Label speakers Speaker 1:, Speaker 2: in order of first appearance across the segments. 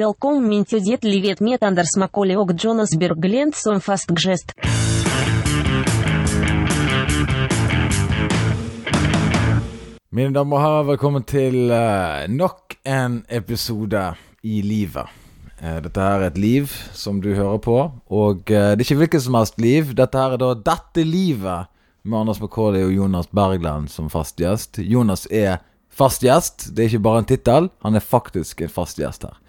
Speaker 1: Velkommen min til ditt livet med Anders Macaulay og Jonas Berglent som fast gjest.
Speaker 2: Mine damer og herrer, velkommen til eh, nok en episode i livet. Eh, dette her er et liv som du hører på, og eh, det er ikke hvilket som helst liv. Dette her er da Dette livet med Anders Macauley og Jonas Bergland som fast gjest. Jonas er fast gjest, det er ikke bare en tittel, han er faktisk en fast gjest her.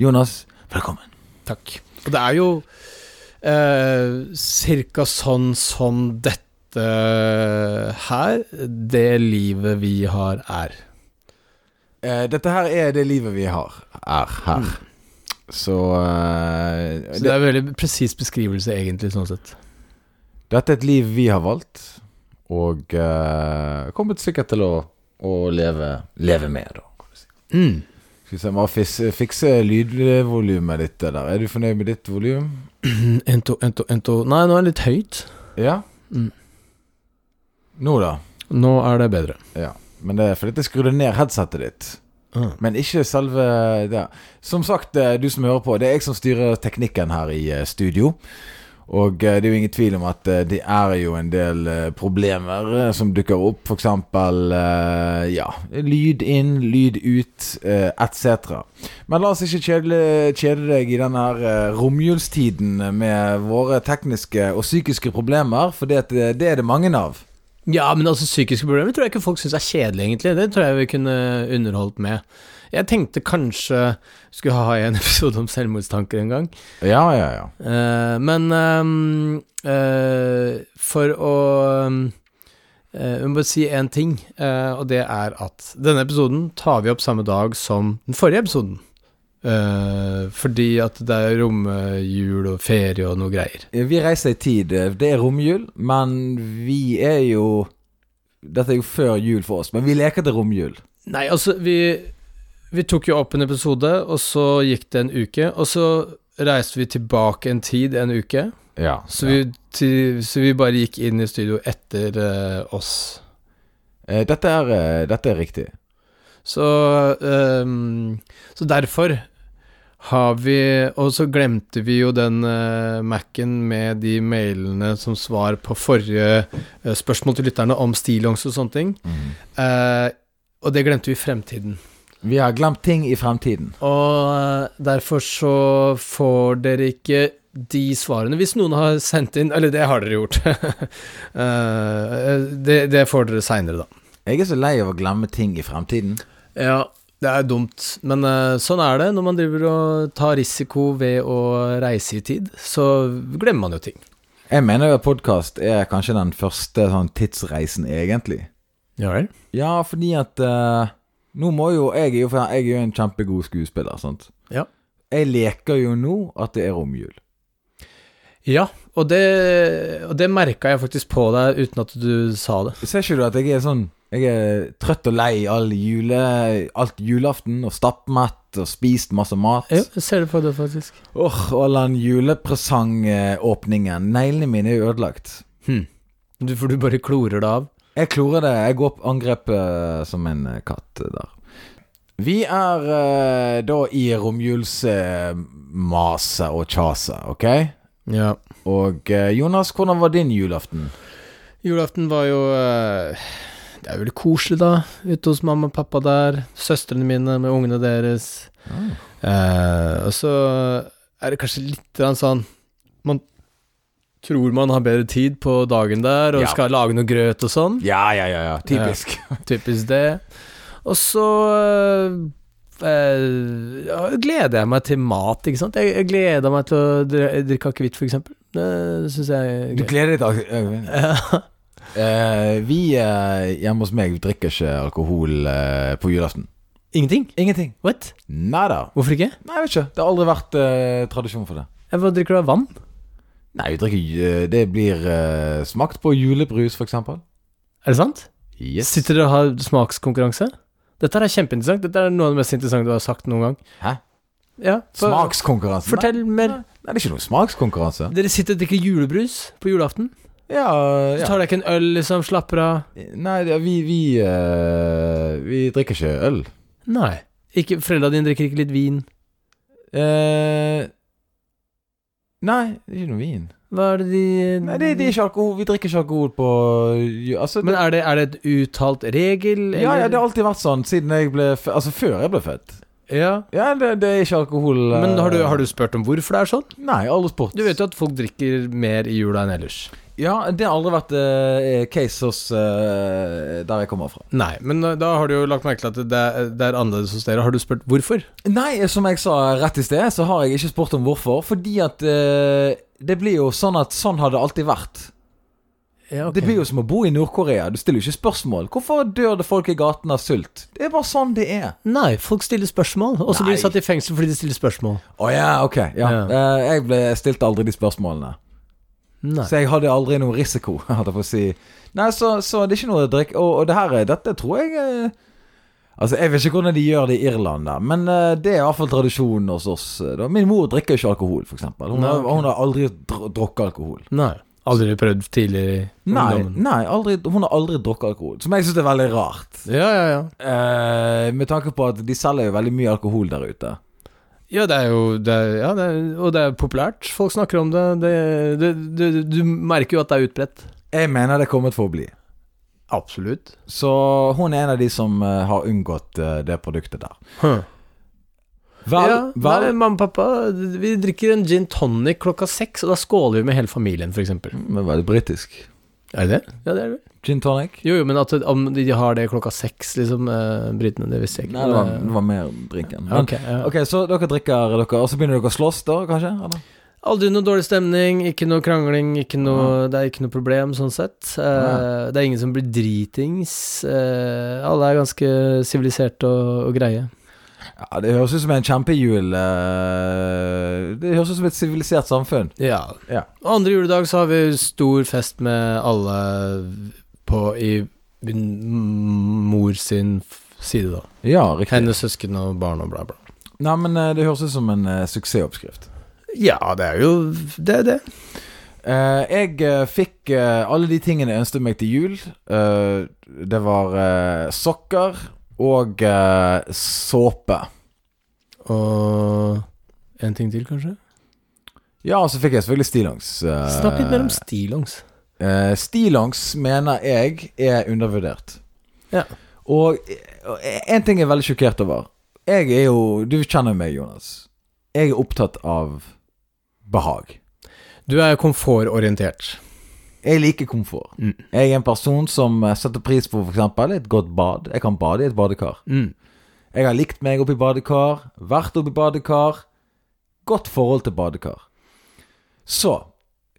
Speaker 2: Jonas, velkommen.
Speaker 3: Takk. Og det er jo eh, cirka sånn som dette her, det livet vi har, er.
Speaker 2: Eh, dette her er det livet vi har, er her. Så, eh,
Speaker 3: Så det er en veldig presis beskrivelse, egentlig, sånn sett.
Speaker 2: Dette er et liv vi har valgt, og eh, kommer sikkert til å, å leve, leve med, da. kan du si.
Speaker 3: Mm.
Speaker 2: Skal vi se, bare fis- fikse lydvolumet ditt der. Er du fornøyd med ditt volum?
Speaker 3: En, to, en, to, en, to. Nei, nå er det litt høyt.
Speaker 2: Ja?
Speaker 3: Mm.
Speaker 2: Nå, da?
Speaker 3: Nå er det bedre.
Speaker 2: Ja. Men det er fordi jeg skrudde ned headsetet ditt.
Speaker 3: Ah.
Speaker 2: Men ikke selve det. Som sagt, eh, du som hører på, det er jeg som styrer teknikken her i eh, studio. Og eh, det er jo ingen tvil om at eh, det er jo en del eh, problemer eh, som dukker opp. For eksempel eh, ja, lyd inn, lyd ut, eh, etc. Men la oss ikke kjede, kjede deg i denne her eh, romjulstiden med våre tekniske og psykiske problemer, for det, det er det mange av.
Speaker 3: Ja, men altså psykiske problemer tror jeg ikke folk syns er kjedelig, egentlig. Det tror jeg vi kunne underholdt med. Jeg tenkte kanskje skulle ha en episode om selvmordstanker en gang.
Speaker 2: Ja, ja, ja.
Speaker 3: Eh, men ehm, eh, for å ehm, eh, Vi må bare si én ting, eh, og det er at denne episoden tar vi opp samme dag som den forrige episoden. Eh, fordi at det er romjul og ferie og noe greier.
Speaker 2: Eh, Vi reiser i tid. Eh, Det er romjul, men vi er jo Dette er jo før jul for oss, men vi leker til romjul.
Speaker 3: Nei, altså, vi, vi tok jo opp en episode, og så gikk det en uke, og så reiste vi tilbake en tid en uke.
Speaker 2: Ja,
Speaker 3: Så, vi, til, så vi bare gikk inn i studio etter eh, oss.
Speaker 2: Eh, Dette, er, eh, dette er riktig.
Speaker 3: Så, ehm, så derfor har vi Og så glemte vi jo den eh, Mac-en med de mailene som svar på forrige eh, spørsmål til lytterne om stillongs og sånne ting. Eh, og det glemte vi i fremtiden.
Speaker 2: Vi har glemt ting i fremtiden.
Speaker 3: Og eh, derfor så får dere ikke de svarene Hvis noen har sendt inn Eller det har dere gjort. Eh, det, det får dere seinere, da.
Speaker 2: Jeg er så lei av å glemme ting i fremtiden.
Speaker 3: Ja, det er dumt, men eh, sånn er det når man driver og tar risiko ved å reise i tid, så glemmer man jo ting.
Speaker 2: Jeg mener jo at podkast er kanskje den første sånn tidsreisen, egentlig.
Speaker 3: Ja vel?
Speaker 2: Ja, fordi at eh, Nå må jo Jeg er jo, for jeg er jo en kjempegod skuespiller, sant.
Speaker 3: Ja.
Speaker 2: Jeg leker jo nå at det er romjul.
Speaker 3: Ja, og det, og det merka jeg faktisk på deg uten at du sa det.
Speaker 2: Ser ikke du at jeg er sånn Jeg er trøtt og lei all jule, alt julaften, og stappmett og spist masse mat.
Speaker 3: Jo, jeg ser det på det, faktisk.
Speaker 2: Åh, Og all den julepresangåpningen. Neglene mine er jo ødelagt.
Speaker 3: Hm. Du, for du bare klorer det av.
Speaker 2: Jeg klorer det. Jeg går på angrep eh, som en eh, katt eh, der. Vi er eh, da i romjulsmaset og kjaset, ok?
Speaker 3: Ja.
Speaker 2: Og eh, Jonas, hvordan var din julaften?
Speaker 3: Julaften var jo eh, Det er jo veldig koselig, da. Ute hos mamma og pappa der. Søstrene mine med ungene deres.
Speaker 2: Ah.
Speaker 3: Eh, og så er det kanskje litt grann sånn Man tror man har bedre tid på dagen der og
Speaker 2: Ja.
Speaker 3: skal lage noe grøt og sånn.
Speaker 2: Ja, ja, ja, ja. Typisk.
Speaker 3: Typisk det. Og så eh, eh, ja, gleder jeg meg til mat, ikke sant. Jeg, jeg gleder meg til å dri- drikke akevitt, for eksempel. Det syns jeg er
Speaker 2: Du
Speaker 3: gøy.
Speaker 2: gleder deg til Øyvind. Eh, vi eh, hjemme hos meg drikker ikke alkohol eh, på julaften.
Speaker 3: Ingenting?
Speaker 2: Ingenting.
Speaker 3: What?
Speaker 2: Nei da.
Speaker 3: Hvorfor ikke?
Speaker 2: Nei, jeg vet ikke. Det har aldri vært eh, tradisjon for det.
Speaker 3: Jeg bare drikker av vann.
Speaker 2: Nei, vi drikker ju- Det blir eh, smakt på julebrus, for eksempel.
Speaker 3: Er det sant?
Speaker 2: Yes.
Speaker 3: Sitter dere og har smakskonkurranse? Dette her er kjempeinteressant. Dette er noe av det mest interessante du har sagt noen gang.
Speaker 2: Hæ?
Speaker 3: Ja, for-
Speaker 2: Smakskonkurranse?
Speaker 3: Fortell mer.
Speaker 2: Nei. Nei, det er ikke noen smakskonkurranse.
Speaker 3: Dere sitter og drikker julebrus på julaften.
Speaker 2: Ja,
Speaker 3: Så
Speaker 2: ja.
Speaker 3: tar dere ikke en øl, liksom. Slapper av.
Speaker 2: Nei, det- vi vi, eh, vi drikker ikke øl.
Speaker 3: Nei. Ikke, foreldra dine drikker ikke litt vin.
Speaker 2: Eh, nei, det er ikke noe vin.
Speaker 3: Hva er det de
Speaker 2: Nei, det, det er ikke alkohol. Vi drikker ikke alkohol på altså, det,
Speaker 3: Men er det, er det et uttalt regel?
Speaker 2: Ja, ja,
Speaker 3: eller-
Speaker 2: det har alltid vært sånn siden jeg ble født. Altså før jeg ble født.
Speaker 3: Ja.
Speaker 2: Ja, det, det er ikke alkohol eh,
Speaker 3: Men har du, har du spurt om hvorfor det er sånn?
Speaker 2: Nei, aldri spurt.
Speaker 3: Du vet jo at folk drikker mer i jula enn ellers.
Speaker 2: Ja, det har aldri vært eh, case hos eh, der jeg kommer fra.
Speaker 3: Nei, men da- da har du jo lagt merke til at det er, det er annerledes hos dere. Har du spurt hvorfor?
Speaker 2: Nei, eh, som jeg sa rett i sted, så har jeg ikke spurt om hvorfor. Fordi at eh, det blir jo sånn at sånn har det alltid vært.
Speaker 3: Ja,
Speaker 2: Det blir jo som å bo i Nord-Korea. Du stiller jo ikke spørsmål. Hvorfor dør det folk i gaten av sult? Det er bare sånn det er.
Speaker 3: Nei, folk stiller spørsmål. Og så blir de satt i fengsel fordi de stiller spørsmål.
Speaker 2: Å ja, ok. Ja.
Speaker 3: Ja.
Speaker 2: Eh, jeg ble, jeg stilte aldri de spørsmålene.
Speaker 3: Nei.
Speaker 2: Så jeg hadde aldri noen risiko, hadde jeg på å si. Nei, så, så det er ikke noe å drikke. Og, og det her, er- dette tror jeg eh, Altså, Jeg vet ikke hvordan de gjør det i Irland, da, men eh, det er iallfall tradisjonen hos oss. eh, Da. Min mor drikker ikke alkohol, f.eks. Hun,
Speaker 3: Nei,
Speaker 2: har-
Speaker 3: ok.
Speaker 2: hun har aldri dr drukket alkohol.
Speaker 3: Nei. Aldri prøvd tidligere i
Speaker 2: Nei,
Speaker 3: ungdommen.
Speaker 2: nei aldri, hun har aldri drukket alkohol. Som jeg syns er veldig rart.
Speaker 3: Ja, ja, ja.
Speaker 2: Eh, med tanke på at de selger jo veldig mye alkohol der ute.
Speaker 3: Ja, det er jo det er, ja, det er, Og det er populært. Folk snakker om det. det, det, det du merker jo at det er utbredt.
Speaker 2: Jeg mener det er kommet for å bli.
Speaker 3: Absolutt.
Speaker 2: Så hun er en av de som eh, har unngått eh, det produktet der. Vel,
Speaker 3: ja,
Speaker 2: vel
Speaker 3: nei, mamma og pappa, vi drikker en gin tonic klokka seks, og da skåler vi med hele familien, f.eks.
Speaker 2: Men veldig britisk.
Speaker 3: Er det det? Ja, det er det.
Speaker 2: Gin tonic?
Speaker 3: Jo, jo, men at om de har det klokka seks, liksom, eh, britene, det visste jeg ikke.
Speaker 2: Nei, det var,
Speaker 3: Men,
Speaker 2: det var mer drinken.
Speaker 3: eh,
Speaker 2: Men,
Speaker 3: ok, ja.
Speaker 2: ok, så dere drikker, dere, og så begynner dere å slåss da, kanskje? Eller?
Speaker 3: Aldri noe dårlig stemning, ikke noe krangling, ikke noe, det er ikke noe problem sånn sett. Eh,
Speaker 2: Ja.
Speaker 3: Det er ingen som blir dritings. eh, alle er ganske siviliserte og, og greie.
Speaker 2: Ja, Det høres ut som en kjempehjul eh, Det høres ut som et sivilisert samfunn.
Speaker 3: Ja.
Speaker 2: Ja.
Speaker 3: Og andre juledag så har vi stor fest med alle på i min mor sin f- side, da.
Speaker 2: Ja, riktig.
Speaker 3: Hennes søsken og barn og bla, bla.
Speaker 2: Nei, men eh, det høres ut som en eh, suksessoppskrift.
Speaker 3: Ja, det er jo det. Er det.
Speaker 2: Eh, jeg eh, fikk eh, alle de tingene jeg ønsket meg til jul. Eh, det var eh, sokker og eh, såpe.
Speaker 3: Og en ting til, kanskje?
Speaker 2: Ja, og så fikk jeg selvfølgelig stillongs. eh,
Speaker 3: Snakk litt mer om stillongs.
Speaker 2: Eh, stillongs mener jeg er undervurdert.
Speaker 3: Ja.
Speaker 2: Og eh, en ting jeg er veldig sjokkert over. Jeg er jo Du kjenner jo meg, Jonas. Jeg er opptatt av behag.
Speaker 3: Du er komfortorientert.
Speaker 2: Jeg liker komfort.
Speaker 3: Mm.
Speaker 2: Jeg er en person som eh, setter pris på f.eks. et godt bad. Jeg kan bade i et badekar.
Speaker 3: Mm.
Speaker 2: Jeg har likt meg oppi badekar, vært oppi badekar. Godt forhold til badekar. Så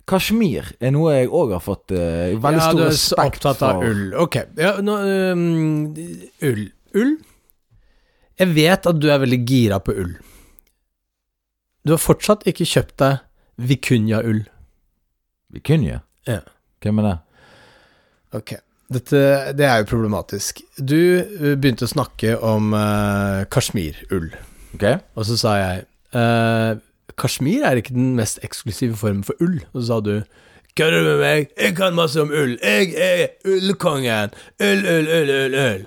Speaker 2: Kashmir er noe jeg òg har fått eh, veldig
Speaker 3: ja,
Speaker 2: stor
Speaker 3: du er så
Speaker 2: respekt
Speaker 3: opptatt av
Speaker 2: for.
Speaker 3: ull. Ok. Ja, nå, øhm, ull. Ull? Jeg vet at du er veldig gira på ull. Du har fortsatt ikke kjøpt deg vikunja-ull.
Speaker 2: Vi kunne jo.
Speaker 3: Ja.
Speaker 2: Hvem er det?
Speaker 3: Ok. Dette, det er jo problematisk. Du ø, begynte å snakke om uh, kasjmirull,
Speaker 2: Ok,
Speaker 3: og så sa jeg uh, Kasjmir er ikke den mest eksklusive formen for ull. Og så sa du Kødder du med meg? Jeg kan masse om ull. Jeg er ullkongen. Ull, ull, ull, ull, ull.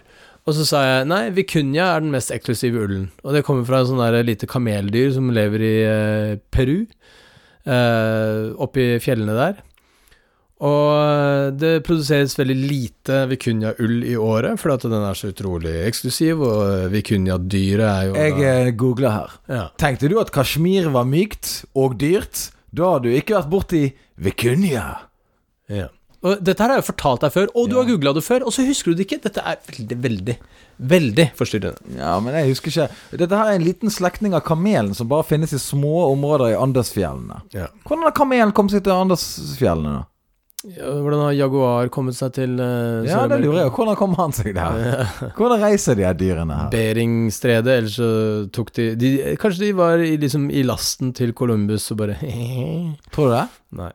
Speaker 3: Og så sa jeg nei, vikunja er den mest eksklusive ullen. Og det kommer fra en sånn der lite kameldyr som lever i eh, Peru. eh, oppi fjellene der. Og eh, det produseres veldig lite vikunja-ull i året, fordi at den er så utrolig eksklusiv, og vikunja-dyret er jo
Speaker 2: jeg eh, googler her.
Speaker 3: ja.
Speaker 2: Tenkte du at Kashmir var mykt og dyrt? Da har du ikke vært borti Vikunja.
Speaker 3: Ja. Og dette her har jeg jo fortalt deg før, og du
Speaker 2: Ja.
Speaker 3: har googla det før, og så husker du det ikke. Dette er veldig, veldig, veldig forstyrrende.
Speaker 2: Ja, men jeg husker ikke Dette her er en liten slektning av kamelen som bare finnes i små områder i Andesfjellene.
Speaker 3: Ja.
Speaker 2: Hvordan har kamelen kommet seg til Andesfjellene? da?
Speaker 3: hvordan har jaguar kommet seg til uh,
Speaker 2: Ja, det lurer jeg på. Hvordan kom han seg der? Hvordan reiser de her dyrene her?
Speaker 3: Beringstredet, eller så tok de, de Kanskje de var i, liksom, i lasten til Columbus og bare Nei.
Speaker 2: Tror du det?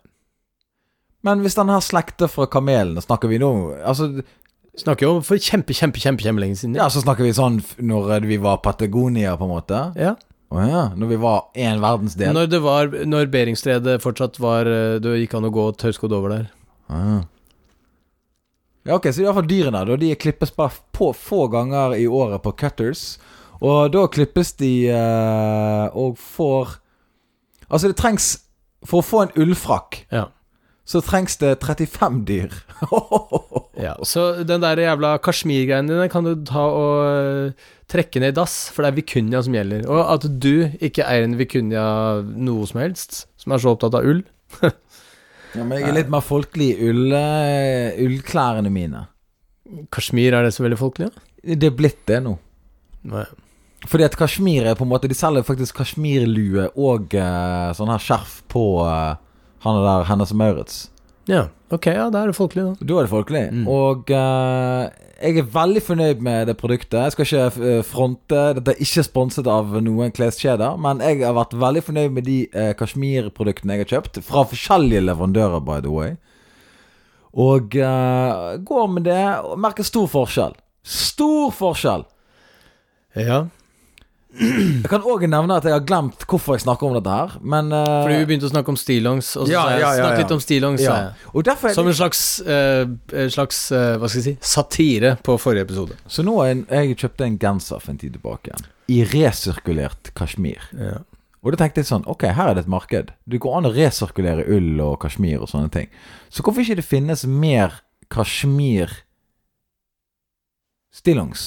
Speaker 2: Men hvis den her slekter fra kamelene, snakker vi nå Altså,
Speaker 3: Snakker jo om for kjempe, kjempe, kjempe, kjempe lenge siden.
Speaker 2: ja, så snakker vi sånn f- når vi var Patagonia, på en måte?
Speaker 3: ja.
Speaker 2: Å ja. Når vi var én verdensdel?
Speaker 3: Når, det var, når Beringstredet fortskodd var eh, Det gikk an å gå tørrskodd over der.
Speaker 2: Ah. Ja, ok, så i hvert fall dyrene da, de klippes bare få, få ganger i året på cutters Og da klippes de eh, og får Altså, det trengs For å få en ullfrakk,
Speaker 3: Ja.
Speaker 2: så trengs det 35 dyr.
Speaker 3: Ja, så den der jævla kasjmirgreien dine kan du ta og øh, trekke ned i dass, for det er vikunja som gjelder. Og at du ikke eier en vikunja noe som helst, som er så opptatt av ull.
Speaker 2: ja, men jeg er litt mer folkelig i ull, eh, ullklærne mine.
Speaker 3: Kasjmir, er det så veldig folkelig, da?
Speaker 2: Det er blitt det nå.
Speaker 3: Nei.
Speaker 2: Fordi at kasjmir er på en måte De selger faktisk kasjmirlue og eh, sånn her skjerf på eh, han der Hennes Maurits.
Speaker 3: Ja, ok, ja, da er det folkelig, da.
Speaker 2: Da er det folkelig. Og eh, jeg er veldig fornøyd med det produktet. Jeg skal ikke eh, fronte Dette er ikke sponset av noen kleskjeder, men jeg har vært veldig fornøyd med de eh, kasjmirproduktene jeg har kjøpt. Fra forskjellige leverandører, by the way. Og eh, går med det og merker stor forskjell. Stor forskjell!
Speaker 3: Ja,
Speaker 2: Jeg kan òg nevne at jeg har glemt hvorfor jeg snakker om dette her, men eh,
Speaker 3: fordi vi begynte å snakke om stillongs, og så
Speaker 2: Ja,
Speaker 3: sa jeg
Speaker 2: ja, ja,
Speaker 3: snakk
Speaker 2: ja.
Speaker 3: litt om stillongs.
Speaker 2: ja.
Speaker 3: sa
Speaker 2: Og derfor er
Speaker 3: jeg.
Speaker 2: det-
Speaker 3: Som en slags, øh, en slags øh, hva skal jeg si, satire på forrige episode.
Speaker 2: Så nå har jeg- jeg kjøpte en genser for en tid tilbake igjen. I resirkulert kasjmir.
Speaker 3: Ja.
Speaker 2: Og da tenkte jeg sånn Ok, her er det et marked. Det går an å resirkulere ull og kasjmir og sånne ting. Så hvorfor ikke det finnes mer kasjmir stillongs?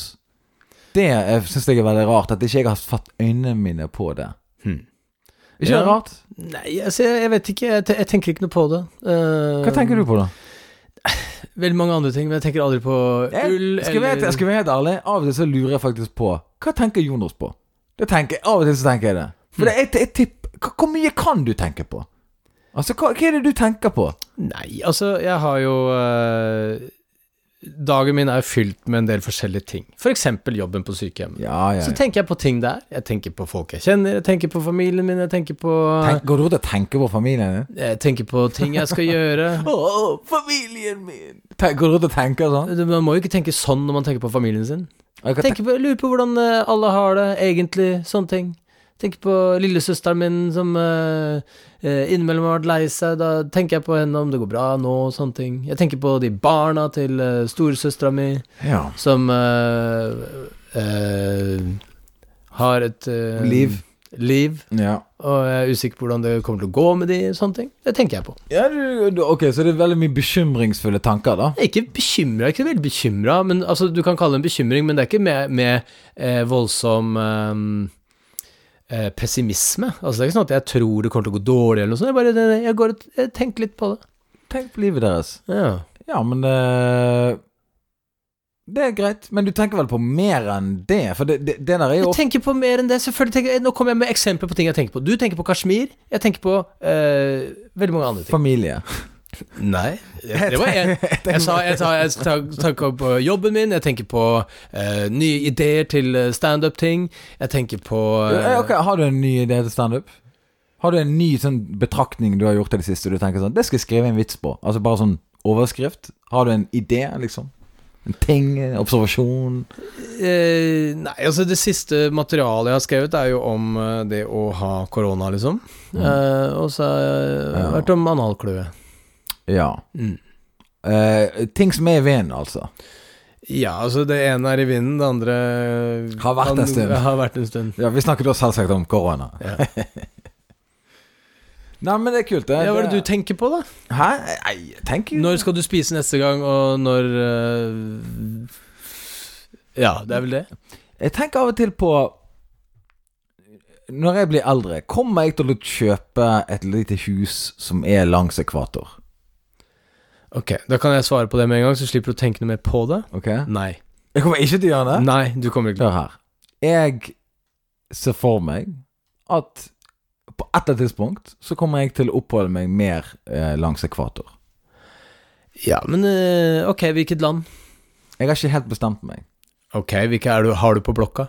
Speaker 2: Det syns jeg er veldig rart, at ikke jeg har fatt øynene mine på det.
Speaker 3: Hmm.
Speaker 2: Ikke
Speaker 3: Ja.
Speaker 2: det rart?
Speaker 3: Nei, altså, jeg, jeg vet ikke, jeg, te- jeg tenker ikke noe på det.
Speaker 2: Hva tenker du på, da?
Speaker 3: Eh, Veldig mange andre ting, men jeg tenker aldri på
Speaker 2: Jeg,
Speaker 3: ull
Speaker 2: skal, vi,
Speaker 3: eller
Speaker 2: skal vi være helt ærlig, av og til så lurer jeg faktisk på Hva tenker Jonas på? Det tenker jeg, Av og til så tenker jeg det. For det er et, et tipp hva, Hvor mye kan du tenke på? Altså, hva, hva er det du tenker på?
Speaker 3: Nei, altså, jeg har jo øh, Dagen min er jo fylt med en del forskjellige ting. F.eks. eksempel jobben på sykehjemmet.
Speaker 2: Ja, ja,
Speaker 3: Så
Speaker 2: ja.
Speaker 3: tenker jeg på ting der. Jeg tenker på folk jeg kjenner, jeg tenker på familien min, jeg tenker på
Speaker 2: Tenk, går du rundt og tenker på familien din?
Speaker 3: Jeg tenker på ting jeg skal gjøre.
Speaker 2: Å, familien min! Tenk, går du rundt og tenker sånn?
Speaker 3: Man må jo ikke tenke sånn når man tenker på familien sin.
Speaker 2: Jeg kan
Speaker 3: Tenker på, jeg lurer på hvordan eh, alle har det, egentlig. Sånne ting. Tenker på lillesøsteren min som eh, eh, innimellom har vært lei seg. Da tenker jeg på henne om det går bra nå, og sånne ting. Jeg tenker på de barna til uh, storesøstera mi
Speaker 2: tenk- ja.
Speaker 3: som eh, eh, har et eh,
Speaker 2: Liv.
Speaker 3: liv,
Speaker 2: Ja.
Speaker 3: og jeg er usikker på hvordan det kommer til å gå med de, sånne ting. Det tenker jeg på.
Speaker 2: ja du, du, ok, så det er veldig mye bekymringsfulle tanker, da?
Speaker 3: Jeg er ikke bekymra, jeg er ikke veldig bekymra. Altså, du kan kalle det en bekymring, men det er ikke med, med eh, voldsom eh, eh, pessimisme. Altså, det er ikke sånn at jeg tror det kommer til å gå dårlig, eller noe sånt. Jeg, bare, jeg, går, og- jeg tenker litt på det.
Speaker 2: Tenk på livet deres.
Speaker 3: Ja.
Speaker 2: Ja, men eh, Det er greit. Men du tenker vel på mer enn det? For det, det, det der er jo
Speaker 3: Jeg tenker på mer enn det. selvfølgelig tenker jeg, Nå kommer jeg med eksempler på ting jeg tenker på. Du tenker på kasjmir, jeg tenker på eh, veldig mange andre ting.
Speaker 2: familie.
Speaker 3: Nei. Det var jeg. Jeg, sa, jeg, tar, jeg tar, tenker på jobben min, jeg tenker på eh, nye ideer til eh, standup-ting, jeg tenker på eh,
Speaker 2: Eh, ok, Har du en ny idé til standup? Har du en ny sånn betraktning du har gjort til det siste? Du tenker sånn Det skal jeg skrive en vits på. Altså bare sånn overskrift. Har du en idé, liksom? En ting? En observasjon?
Speaker 3: Eh, nei, altså det siste materialet jeg har skrevet er jo om eh, det å ha korona, liksom. Eh, og så har jeg
Speaker 2: Mm. Ja.
Speaker 3: vært om analkløe.
Speaker 2: Ja.
Speaker 3: Mm.
Speaker 2: Eh, ting som er i vinden, altså.
Speaker 3: Ja, altså det ene er i vinden, det andre eh,
Speaker 2: Har vært en stund.
Speaker 3: Har vært en stund.
Speaker 2: Ja, Vi snakker da selvsagt om korona.
Speaker 3: Ja.
Speaker 2: Nei, men det er kult, det.
Speaker 3: Ja, hva er det du tenker på, da?
Speaker 2: Hæ? Nei, jeg tenker jo
Speaker 3: Når skal du spise neste gang, og når eh, Ja, det er vel det.
Speaker 2: Jeg tenker av og til på Når jeg blir eldre, kommer jeg til å kjøpe et lite hus som er langs ekvator?
Speaker 3: Ok, da kan jeg svare på det med en gang, så slipper du å tenke noe mer på det.
Speaker 2: Ok?
Speaker 3: Nei.
Speaker 2: Jeg kommer ikke til å gjøre det.
Speaker 3: Nei, du kommer ikke
Speaker 2: Hør her. Jeg ser for meg at på et eller annet tidspunkt så kommer jeg til å oppholde meg mer eh, langs ekvator.
Speaker 3: Ja, men eh, ok, hvilket land?
Speaker 2: Jeg har ikke helt bestemt meg.
Speaker 3: Ok, hvilke er du, har du på blokka?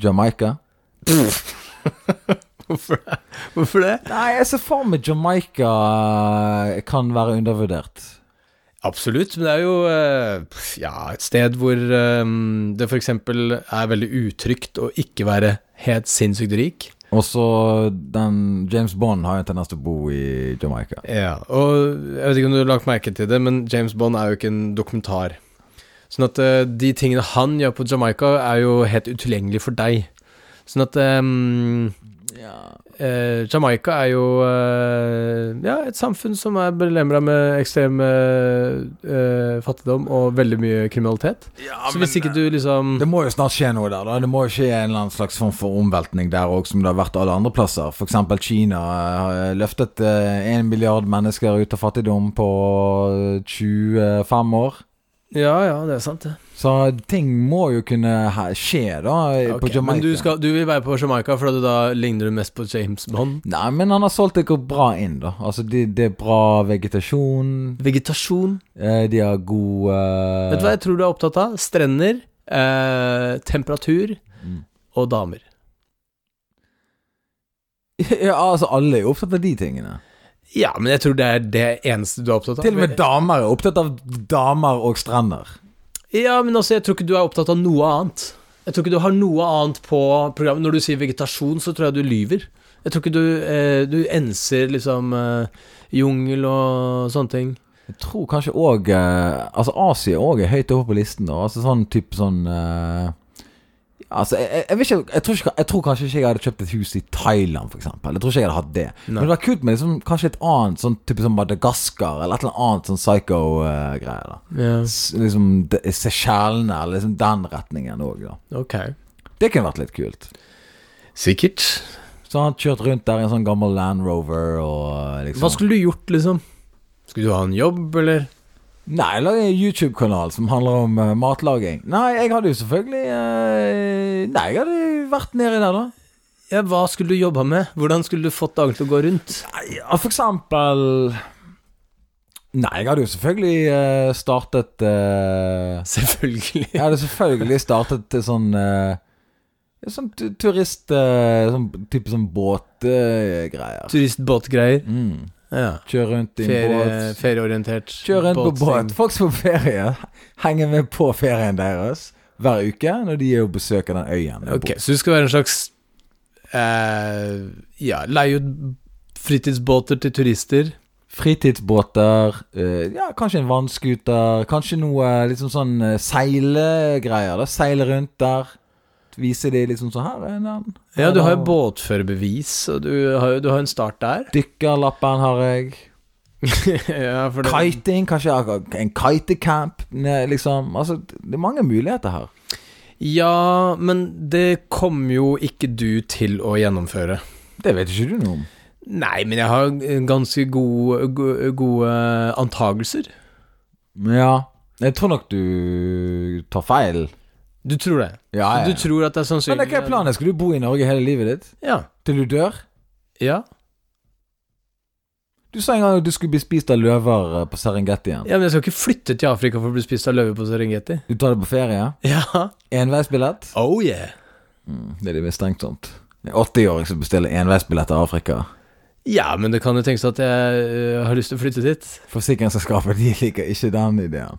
Speaker 2: Jamaica?
Speaker 3: Hvorfor det? Hvorfor det?
Speaker 2: Nei, jeg ser for meg Jamaica eh, kan være undervurdert.
Speaker 3: Absolutt, men det er jo eh, ja, et sted hvor eh, det f.eks. er veldig utrygt å ikke være helt sinnssykt rik.
Speaker 2: Og så den James Bond har jo en tendens til å bo i Jamaica.
Speaker 3: Ja, og jeg vet ikke om du har lagt merke til det, men James Bond er jo ikke en dokumentar. Sånn at eh, de tingene han gjør på Jamaica, er jo helt utilgjengelig for deg. Sånn at ehm, eh, Jamaica er jo eh, ja, et samfunn som er belemra med ekstrem eh, eh, fattigdom og veldig mye kriminalitet.
Speaker 2: Ja, eh,
Speaker 3: så hvis ikke du liksom
Speaker 2: Det må jo snart skje noe der. da Det må jo skje en eller annen slags form for omveltning der òg, som det har vært alle andre plasser. F.eks. Kina eh, har løftet én milliard mennesker ut av fattigdom på 25 år.
Speaker 3: Ja, ja, det er sant, det.
Speaker 2: Så ting må jo kunne he- skje, da, på
Speaker 3: Ok,
Speaker 2: Jamaica.
Speaker 3: Men du, skal, du vil være på Jamaica fordi da ligner du mest på James Bond.
Speaker 2: Nei, men han har solgt det bra inn, da. Altså, de- det er bra vegetasjon.
Speaker 3: Vegetasjon.
Speaker 2: eh, De har god eh,
Speaker 3: Vet du hva jeg tror du er opptatt av? Strender, eh, temperatur
Speaker 2: Mm.
Speaker 3: og damer.
Speaker 2: Ja, altså, alle er jo opptatt av de tingene.
Speaker 3: Ja, men jeg tror det er det eneste du er opptatt av.
Speaker 2: Til og med damer er opptatt av damer og strender.
Speaker 3: Ja, men altså, jeg tror ikke du er opptatt av noe annet. Jeg tror ikke du har noe annet på programmet. Når du sier vegetasjon, så tror jeg du lyver. Jeg tror ikke du, eh, du enser liksom eh, jungel og sånne ting.
Speaker 2: Jeg tror kanskje òg eh, Altså, Asia òg er høyt oppe på listen. Da. Altså sånn type sånn eh, Altså, jeg, jeg, jeg, vet ikke, jeg, tror ikke, jeg tror kanskje ikke jeg hadde kjøpt et hus i Thailand, f.eks. Jeg tror ikke jeg hadde hatt det.
Speaker 3: Nei.
Speaker 2: Men det var kult med liksom, kanskje et annet sånn type sånn Madagaskar, eller et eller annet sånn psycho-greie. da
Speaker 3: Ja,
Speaker 2: S- Liksom de- Seychellene, eller liksom den retningen òg, da.
Speaker 3: ok.
Speaker 2: Det kunne vært litt kult.
Speaker 3: Sikkert.
Speaker 2: Så han kjørt rundt der i en sånn gammel Land Rover og eh, liksom
Speaker 3: Hva skulle du gjort, liksom? Skulle du ha en jobb, eller?
Speaker 2: Nei, lag en YouTube-kanal som handler om eh, matlaging. Nei, jeg hadde jo selvfølgelig eh, Nei, jeg hadde vært nedi der, da.
Speaker 3: Ja, hva skulle du jobba med? Hvordan skulle du fått dagene til å gå rundt?
Speaker 2: Nei, ja, for eksempel Nei, jeg hadde jo selvfølgelig eh, startet eh,
Speaker 3: Selvfølgelig.
Speaker 2: Jeg hadde selvfølgelig startet et sånn eh, et Sånn tu- turist... eh, sånn type sånn båtgreier.
Speaker 3: Turistbåtgreier.
Speaker 2: Mm.
Speaker 3: Ja.
Speaker 2: Kjøre rundt i en
Speaker 3: Ferie,
Speaker 2: båt.
Speaker 3: ferieorientert.
Speaker 2: Kjør rundt på
Speaker 3: båtsing.
Speaker 2: båt. Folk som er på ferie, henger med på ferien deres hver uke når de er og besøker den øyen. de
Speaker 3: Ok,
Speaker 2: bor.
Speaker 3: så du skal være en slags eh, Ja, leie ut fritidsbåter til turister.
Speaker 2: Fritidsbåter, eh, ja, kanskje en vannskuter, kanskje noe eh, liksom sånn eh, seilegreier. da Seile rundt der. Vise de liksom sånn her er den.
Speaker 3: Ja, du har jo
Speaker 2: Eller-
Speaker 3: båtførerbevis, og du har, jo- du har en start der.
Speaker 2: Dykkerlappen har jeg.
Speaker 3: ja, for det,
Speaker 2: Kiting, kanskje jeg har en kitecamp, ne, liksom. Altså, det er mange muligheter her.
Speaker 3: ja, men det kommer jo ikke du til å gjennomføre.
Speaker 2: Det vet ikke du noe om.
Speaker 3: Nei, men jeg har ganske gode, go- gode antagelser.
Speaker 2: Ja, jeg tror nok du tar feil.
Speaker 3: Du tror det?
Speaker 2: Ja, ja.
Speaker 3: Du tror at det er
Speaker 2: Men
Speaker 3: sannsynlig
Speaker 2: hva er planen? Skal du bo i Norge hele livet ditt?
Speaker 3: Ja.
Speaker 2: Til du dør?
Speaker 3: ja.
Speaker 2: Du sa en gang at du skulle bli spist av løver eh, på Serengeti igjen.
Speaker 3: Ja, men jeg skal ikke flytte til Afrika for å bli spist av løve på Serengeti.
Speaker 2: Du tar det på ferie?
Speaker 3: Ja.
Speaker 2: Enveisbillett?
Speaker 3: Oh yeah.
Speaker 2: Mm, det er det mistenkt sånt. En 80-åring som bestiller enveisbillett til Afrika.
Speaker 3: Ja, men det kan jo tenkes at jeg øh, har lyst til å flytte dit.
Speaker 2: Forsikringsselskapet de liker ikke den ideen.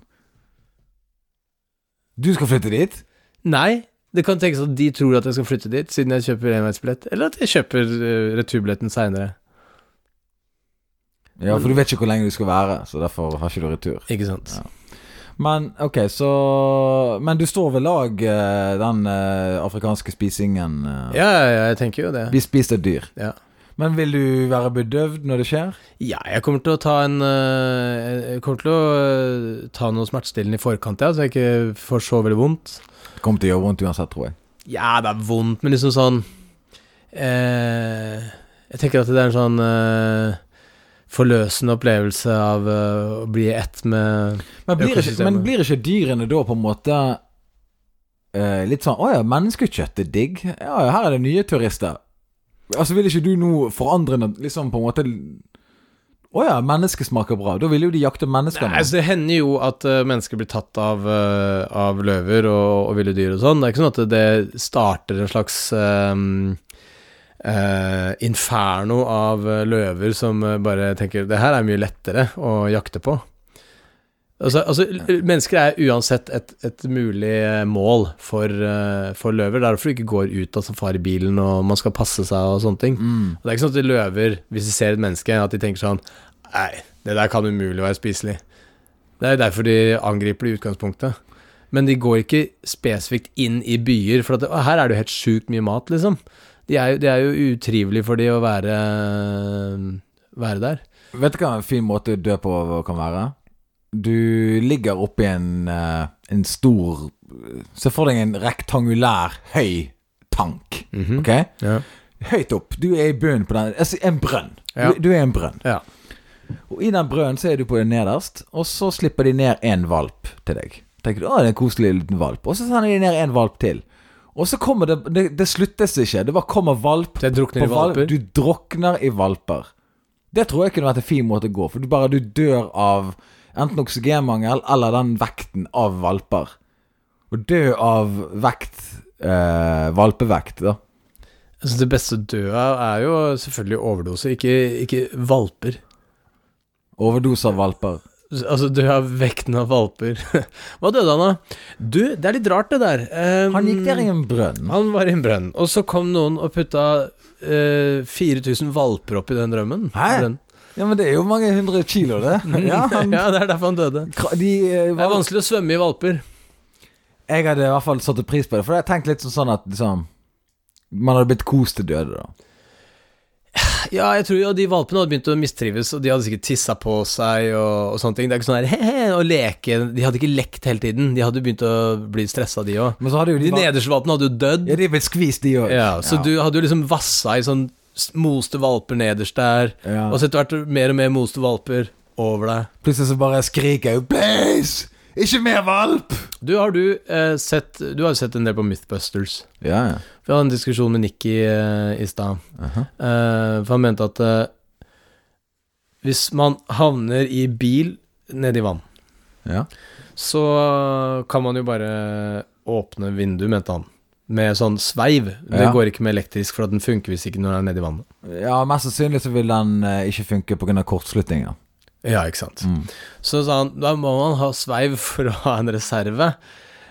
Speaker 2: Du skal flytte dit?
Speaker 3: Nei, det kan tenkes at de tror at jeg skal flytte dit, siden jeg kjøper enveisbillett, eller at jeg kjøper øh, returbilletten seinere.
Speaker 2: Ja, for du vet ikke hvor lenge du skal være, så derfor har ikke du retur.
Speaker 3: Ikke sant.
Speaker 2: Ja. Men ok, så Men du står ved lag, eh, den eh, afrikanske spisingen.
Speaker 3: Ja,
Speaker 2: eh.
Speaker 3: ja, ja jeg tenker jo det.
Speaker 2: Bli spist av dyr.
Speaker 3: Ja.
Speaker 2: Men vil du være bedøvd når det skjer?
Speaker 3: Ja, jeg kommer til å ta en øh, Jeg kommer til å øh, ta noe smertestillende i forkant, ja, så jeg ikke får så veldig vondt.
Speaker 2: Det kommer til å gjøre vondt uansett, tror jeg.
Speaker 3: Ja, det er vondt, men liksom sånn eh, Jeg tenker at det er en sånn eh, forløsende opplevelse av eh, å bli i ett med
Speaker 2: Men blir, ikke,
Speaker 3: Økosystemet.
Speaker 2: men blir ikke dyrene da på en måte eh, litt sånn Å ja, menneskekjøtt er digg. Ja, ja, her er det nye turister. Altså, vil ikke du nå forandre noe, liksom på en måte Å ja, mennesket smaker bra. Da vil jo de jakte mennesker.
Speaker 3: Nei,
Speaker 2: nå.
Speaker 3: altså Det hender jo at eh, mennesker blir tatt av, eh, av løver og, og ville dyr og sånn. Det er ikke sånn at det starter en slags eh, eh, inferno av eh, løver som eh, bare tenker Det her er mye lettere å jakte på. Altså, altså l- Mennesker er uansett et, et mulig eh, mål for, eh, for løver. Det er derfor du ikke går ut av safaribilen og man skal passe seg og sånne ting.
Speaker 2: Mm.
Speaker 3: Og Det er ikke sånn at de løver, hvis de ser et menneske, at de tenker sånn Nei, det der kan umulig være spiselig. Det er jo derfor de angriper det i utgangspunktet. men de går ikke spesifikt inn i byer, for at, det- «Å, her er det jo helt sjukt mye mat, liksom. Det er, jo- det er jo utrivelig for de å være, være der.
Speaker 2: Vet du hva en fin måte å dø på kan være? Du ligger oppi en, eh, en stor Se for deg en rektangulær, høy tank. Ok?
Speaker 3: Ja.
Speaker 2: Høyt opp. Du er i bunnen på den. Altså, en brønn.
Speaker 3: Ja.
Speaker 2: Du, du er en brønn.
Speaker 3: Ja.
Speaker 2: Og i den brønnen så er du på det nederst, og så slipper de ned en valp til deg. Tenker du, å, det er en koselig liten valp. Og så sender de ned en valp til. Og så kommer det Det, det sluttes ikke. Det bare kommer valp
Speaker 3: Det drukner i
Speaker 2: på valp.
Speaker 3: valper.
Speaker 2: Du drukner i valper. Det tror jeg kunne vært en fin måte å gå, for du bare du dør av enten oksygenmangel eller den vekten av valper. Å dø av vekt eh, Valpevekt, da.
Speaker 3: Jeg synes Altså, det beste å dø av er jo selvfølgelig overdoser, ikke, ikke valper.
Speaker 2: Overdose av valper.
Speaker 3: Altså dø av vekten av valper. Hva døde han av? Du, det er litt rart det der. Eh,
Speaker 2: Han gikk der i en brønn.
Speaker 3: Han var i en brønn, og så kom noen og putta eh, 4000 valper opp i den drømmen.
Speaker 2: Hæ?
Speaker 3: Den.
Speaker 2: Ja, men det er jo mange hundre kilo, det. Ja, han,
Speaker 3: ja, det er derfor han døde.
Speaker 2: kra- de, eh,
Speaker 3: Det er
Speaker 2: var,
Speaker 3: vanskelig å svømme i valper.
Speaker 2: jeg hadde i hvert fall satt pris på det, for jeg tenkte litt sånn at liksom Man hadde blitt kost til døde, da.
Speaker 3: Ja, jeg tror jo de valpene hadde begynt å mistrives, og de hadde sikkert tissa på seg og, og sånne ting. Det er ikke sånn her he-he og leke De hadde ikke lekt hele tiden. De hadde begynt å bli stressa, de òg.
Speaker 2: Men så hadde jo de
Speaker 3: De nederste valpene hadde jo dødd.
Speaker 2: Ja, de er blitt skvist, de òg.
Speaker 3: Ja, så du hadde jo liksom vassa i sånn s- moste valper nederst der,
Speaker 2: Ja.
Speaker 3: og så etter hvert mer og mer moste valper over deg.
Speaker 2: Plutselig så bare skriker jeg 'Please! Ikke mer valp!'
Speaker 3: Du har du eh, sett Du har jo sett en del på Mythbusters.
Speaker 2: Ja, ja.
Speaker 3: Vi hadde en diskusjon med Nikki eh, i stad, eh, for han mente at eh, hvis man havner i bil nedi vann,
Speaker 2: ja.
Speaker 3: så kan man jo bare åpne vinduet, mente han. Med sånn sveiv. Det
Speaker 2: Ja.
Speaker 3: går ikke med elektrisk, for at den funker hvis ikke når den er nedi vannet.
Speaker 2: ja mest sannsynlig så vil den eh, ikke funke pga. kortslutninger.
Speaker 3: Ja, ikke sant.
Speaker 2: Mm.
Speaker 3: Så sa han da må man ha sveiv for å ha en reserve.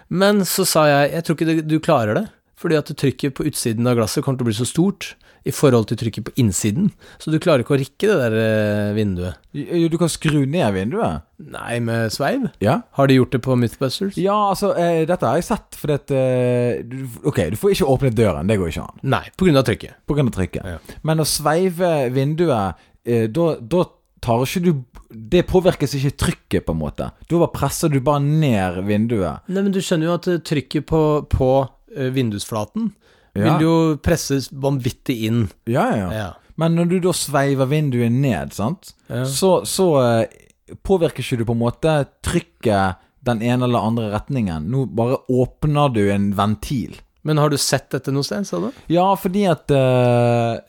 Speaker 3: Men så sa jeg jeg tror ikke det- du klarer det, fordi at trykket på utsiden av glasset kommer til å bli så stort i forhold til trykket på innsiden, så du klarer ikke å rikke det der eh, vinduet.
Speaker 2: Jo, du kan skru ned vinduet.
Speaker 3: Nei, med sveiv?
Speaker 2: Ja,
Speaker 3: Har de gjort det på Mythbusters?
Speaker 2: ja altså, eh, dette har jeg sett, fordi at eh, du- Ok, du får ikke åpnet døren. Det går ikke an.
Speaker 3: Nei, på grunn av trykket.
Speaker 2: På grunn av trykket.
Speaker 3: Ja.
Speaker 2: Men å sveive vinduet, eh, da da tar ikke du Det påvirkes ikke trykket, på en måte. Da bare presser du bare ned vinduet.
Speaker 3: Nei, men du skjønner jo at eh, trykket på, på eh, vindusflaten
Speaker 2: Ja.
Speaker 3: vil jo presses vanvittig inn.
Speaker 2: Ja,
Speaker 3: Ja.
Speaker 2: Men når du da sveiver vinduet ned, sant,
Speaker 3: Ja.
Speaker 2: så, så eh, påvirker ikke du på en måte trykket den ene eller andre retningen. Nå bare åpner du en ventil.
Speaker 3: Men har du sett dette noe sted, sa du?
Speaker 2: Ja, fordi at eh,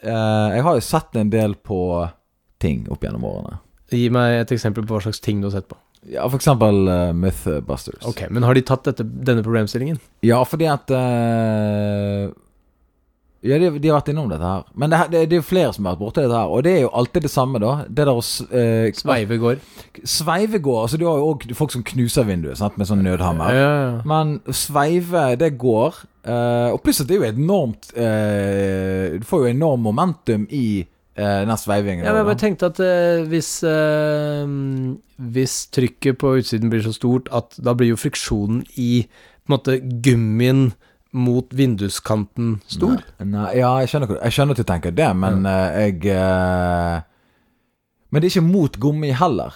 Speaker 2: eh, Jeg har jo sett en del på ting opp gjennom årene.
Speaker 3: Gi meg et eksempel på hva slags ting du har sett på.
Speaker 2: Ja, for eksempel eh, Mythbusters.
Speaker 3: Ok, Men har de tatt dette, denne problemstillingen?
Speaker 2: Ja, fordi at eh, Ja, de, de har vært innom dette her. Men det, her- det, det er jo flere som har vært borti dette her, og det er jo alltid det samme, da. Det der å uh,
Speaker 3: Sveive går.
Speaker 2: Sveive går, altså du har jo òg folk som knuser vinduet sant, med sånn nødhammer.
Speaker 3: Ja.
Speaker 2: Men sveive, det går. eh, og plutselig det er jo enormt eh, Du får jo enorm momentum i eh, den sveivingen.
Speaker 3: Ja, men jeg bare
Speaker 2: da.
Speaker 3: tenkte at eh, hvis, eh, hvis trykket på utsiden blir så stort at da blir jo friksjonen i på en måte gummien mot vinduskanten stor.
Speaker 2: Nei, ja, jeg skjønner, hva- jeg skjønner at du tenker det, men eh, jeg eh, Men det er ikke mot gummi heller.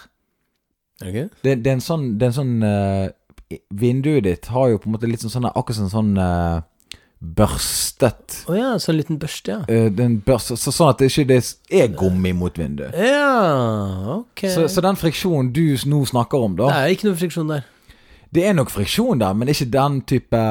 Speaker 2: Det, det er en sånn, det er en sånn eh, Vinduet ditt har jo på en måte litt sånn, sånn akkurat som en sånn eh, børstet
Speaker 3: Å ja, sånn liten børste, ja.
Speaker 2: Eh, den børs, så, Sånn at det ikke det er gummi mot vinduet.
Speaker 3: Ja, ok.
Speaker 2: Så, så den friksjonen du s- nå snakker om,
Speaker 3: det
Speaker 2: da
Speaker 3: er ikke noe friksjon der.
Speaker 2: Det er nok friksjon der, men ikke den type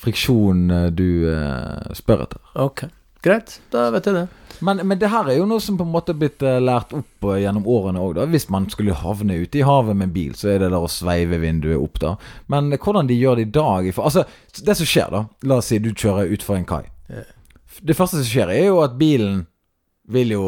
Speaker 2: friksjon eh, du eh, spør etter.
Speaker 3: Ok. Greit, da vet jeg det.
Speaker 2: Men, men det her er jo noe som på en måte er blitt eh, lært opp eh, gjennom årene òg, da. Hvis man skulle havne ute i havet med bil, så er det der å sveive vinduet opp, da. Men eh, hvordan de gjør det i dag i for, Altså, det som skjer, da La oss si du kjører utfor en kai.
Speaker 3: Ja.
Speaker 2: Det første som skjer, er jo at bilen vil jo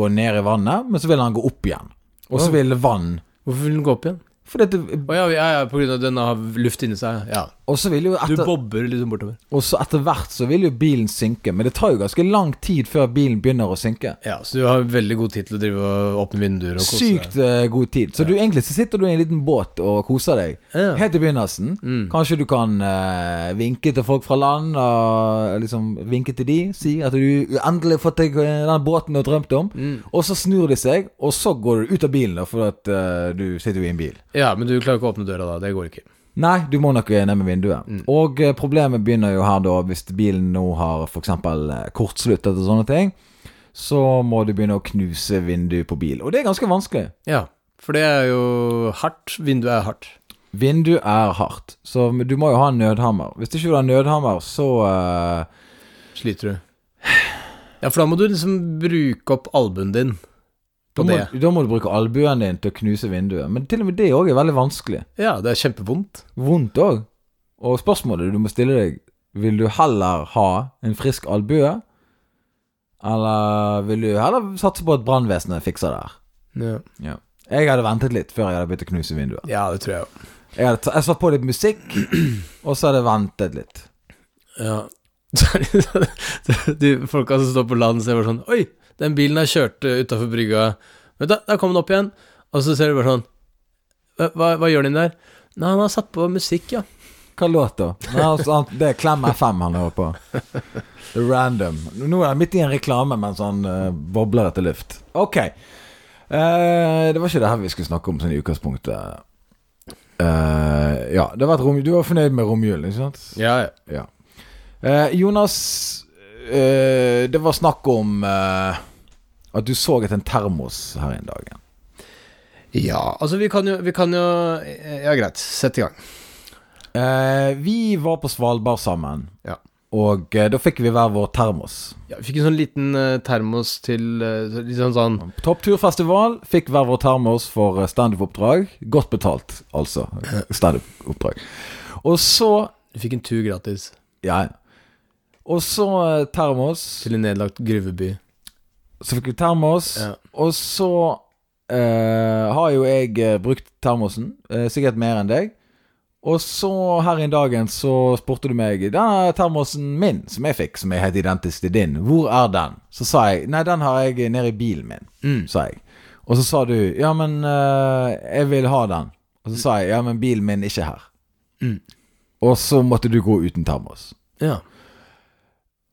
Speaker 2: gå ned i vannet, men så vil han gå opp igjen. Og så vil vann
Speaker 3: Hvorfor vil den gå opp igjen?
Speaker 2: For dette,
Speaker 3: Å ja, ja, ja, på grunn av den har luft inni seg. Ja.
Speaker 2: og så vil jo
Speaker 3: Du
Speaker 2: etter,
Speaker 3: bobber liksom bortover.
Speaker 2: og så etter hvert så vil jo bilen synke, men det tar jo ganske lang tid før bilen begynner å synke.
Speaker 3: Ja, så du har veldig god tid til å drive og åpne vinduer og kose
Speaker 2: Sykt eh, god tid. Så du, egentlig så sitter du i en liten båt og koser deg.
Speaker 3: Ja. Mm.
Speaker 2: Helt i begynnelsen. Kanskje du kan eh, vinke til folk fra land, og liksom vinke til de. Si at du endelig har fått deg eh, den båten du har drømt om.
Speaker 3: Mm.
Speaker 2: Og så snur de seg, og så går du ut av bilen, da, for at eh, du sitter jo i en bil.
Speaker 3: Ja, men du klarer ikke å åpne døra da. Det går ikke.
Speaker 2: Nei, du må nok eh, ned med vinduet.
Speaker 3: Mm.
Speaker 2: Og eh, problemet begynner jo her, da, hvis bilen nå har f.eks. kortsluttet og sånne ting. Så må du begynne å knuse vinduet på bil. Og det er ganske vanskelig.
Speaker 3: Ja, for det er jo hardt. Vinduet er hardt.
Speaker 2: Vindu er hardt, så du må jo ha en nødhammer. Hvis ikke du har nødhammer, så eh,
Speaker 3: Sliter du. Ja, for da må du liksom bruke opp albuen din
Speaker 2: da,
Speaker 3: på
Speaker 2: må,
Speaker 3: det.
Speaker 2: da må du bruke albuen din til å knuse vinduet. Men til og med det òg er veldig vanskelig.
Speaker 3: Ja, det er kjempevondt.
Speaker 2: Vondt òg. Og spørsmålet du må stille deg, vil du heller ha en frisk albue? Eller vil du heller satse på at brannvesenet fikser det her?
Speaker 3: Ja.
Speaker 2: Jeg hadde ventet litt før jeg hadde begynt å knuse vinduet.
Speaker 3: ja, det tror jeg òg.
Speaker 2: Jeg hadde ta- jeg satt på litt musikk, og så hadde jeg ventet litt.
Speaker 3: Ja. De folka som står på land, ser bare sånn Oi, den bilen har kjørt utafor brygga. Vent, da, der kom den opp igjen. Og så ser du bare sånn Hva, hva, hva gjør den der? Nei, han har satt på musikk, ja.
Speaker 2: Hva låt da? Nei, altså, han- det er Klem FM han hører på. The Random. Nå er han midt i en reklame mens han eh, bobler etter luft. Ok. Eh, det var ikke det her vi skulle snakke om sånn i utgangspunktet. Eh, ja, det var et rom, du var fornøyd med romjulen, ikke sant?
Speaker 3: Ja, ja.
Speaker 2: Ja. Eh, Jonas, eh, det var snakk om eh, at du så etter en termos her en dag.
Speaker 3: Ja, altså vi kan jo, vi kan jo eh, Ja, greit, sett i gang.
Speaker 2: Eh, vi var på Svalbard sammen,
Speaker 3: Ja.
Speaker 2: og eh, da fikk vi hver vår termos.
Speaker 3: Ja, vi fikk en sånn liten eh, termos til eh, litt sånn sånn
Speaker 2: Toppturfestival fikk hver vår termos for eh, standup-oppdrag. Godt betalt, altså. Standup-oppdrag. Og så
Speaker 3: Vi fikk en tur gratis
Speaker 2: Ja. ja. Og så eh, termos.
Speaker 3: til en nedlagt gruveby.
Speaker 2: Så fikk vi termos.
Speaker 3: Ja.
Speaker 2: Og så eh, har jo jeg eh, brukt termosen, eh, sikkert mer enn deg. Og så her i dagen så spurte du meg Denne termosen min som jeg fikk, som er helt identisk til din, hvor er den? Så sa jeg nei, den har jeg nede i bilen min,
Speaker 3: Mm.
Speaker 2: sa jeg. Og så sa du ja, men eh, jeg vil ha den. Og så sa jeg ja, men bilen min er ikke her.
Speaker 3: Mm.
Speaker 2: Og så måtte du gå uten termos.
Speaker 3: Ja.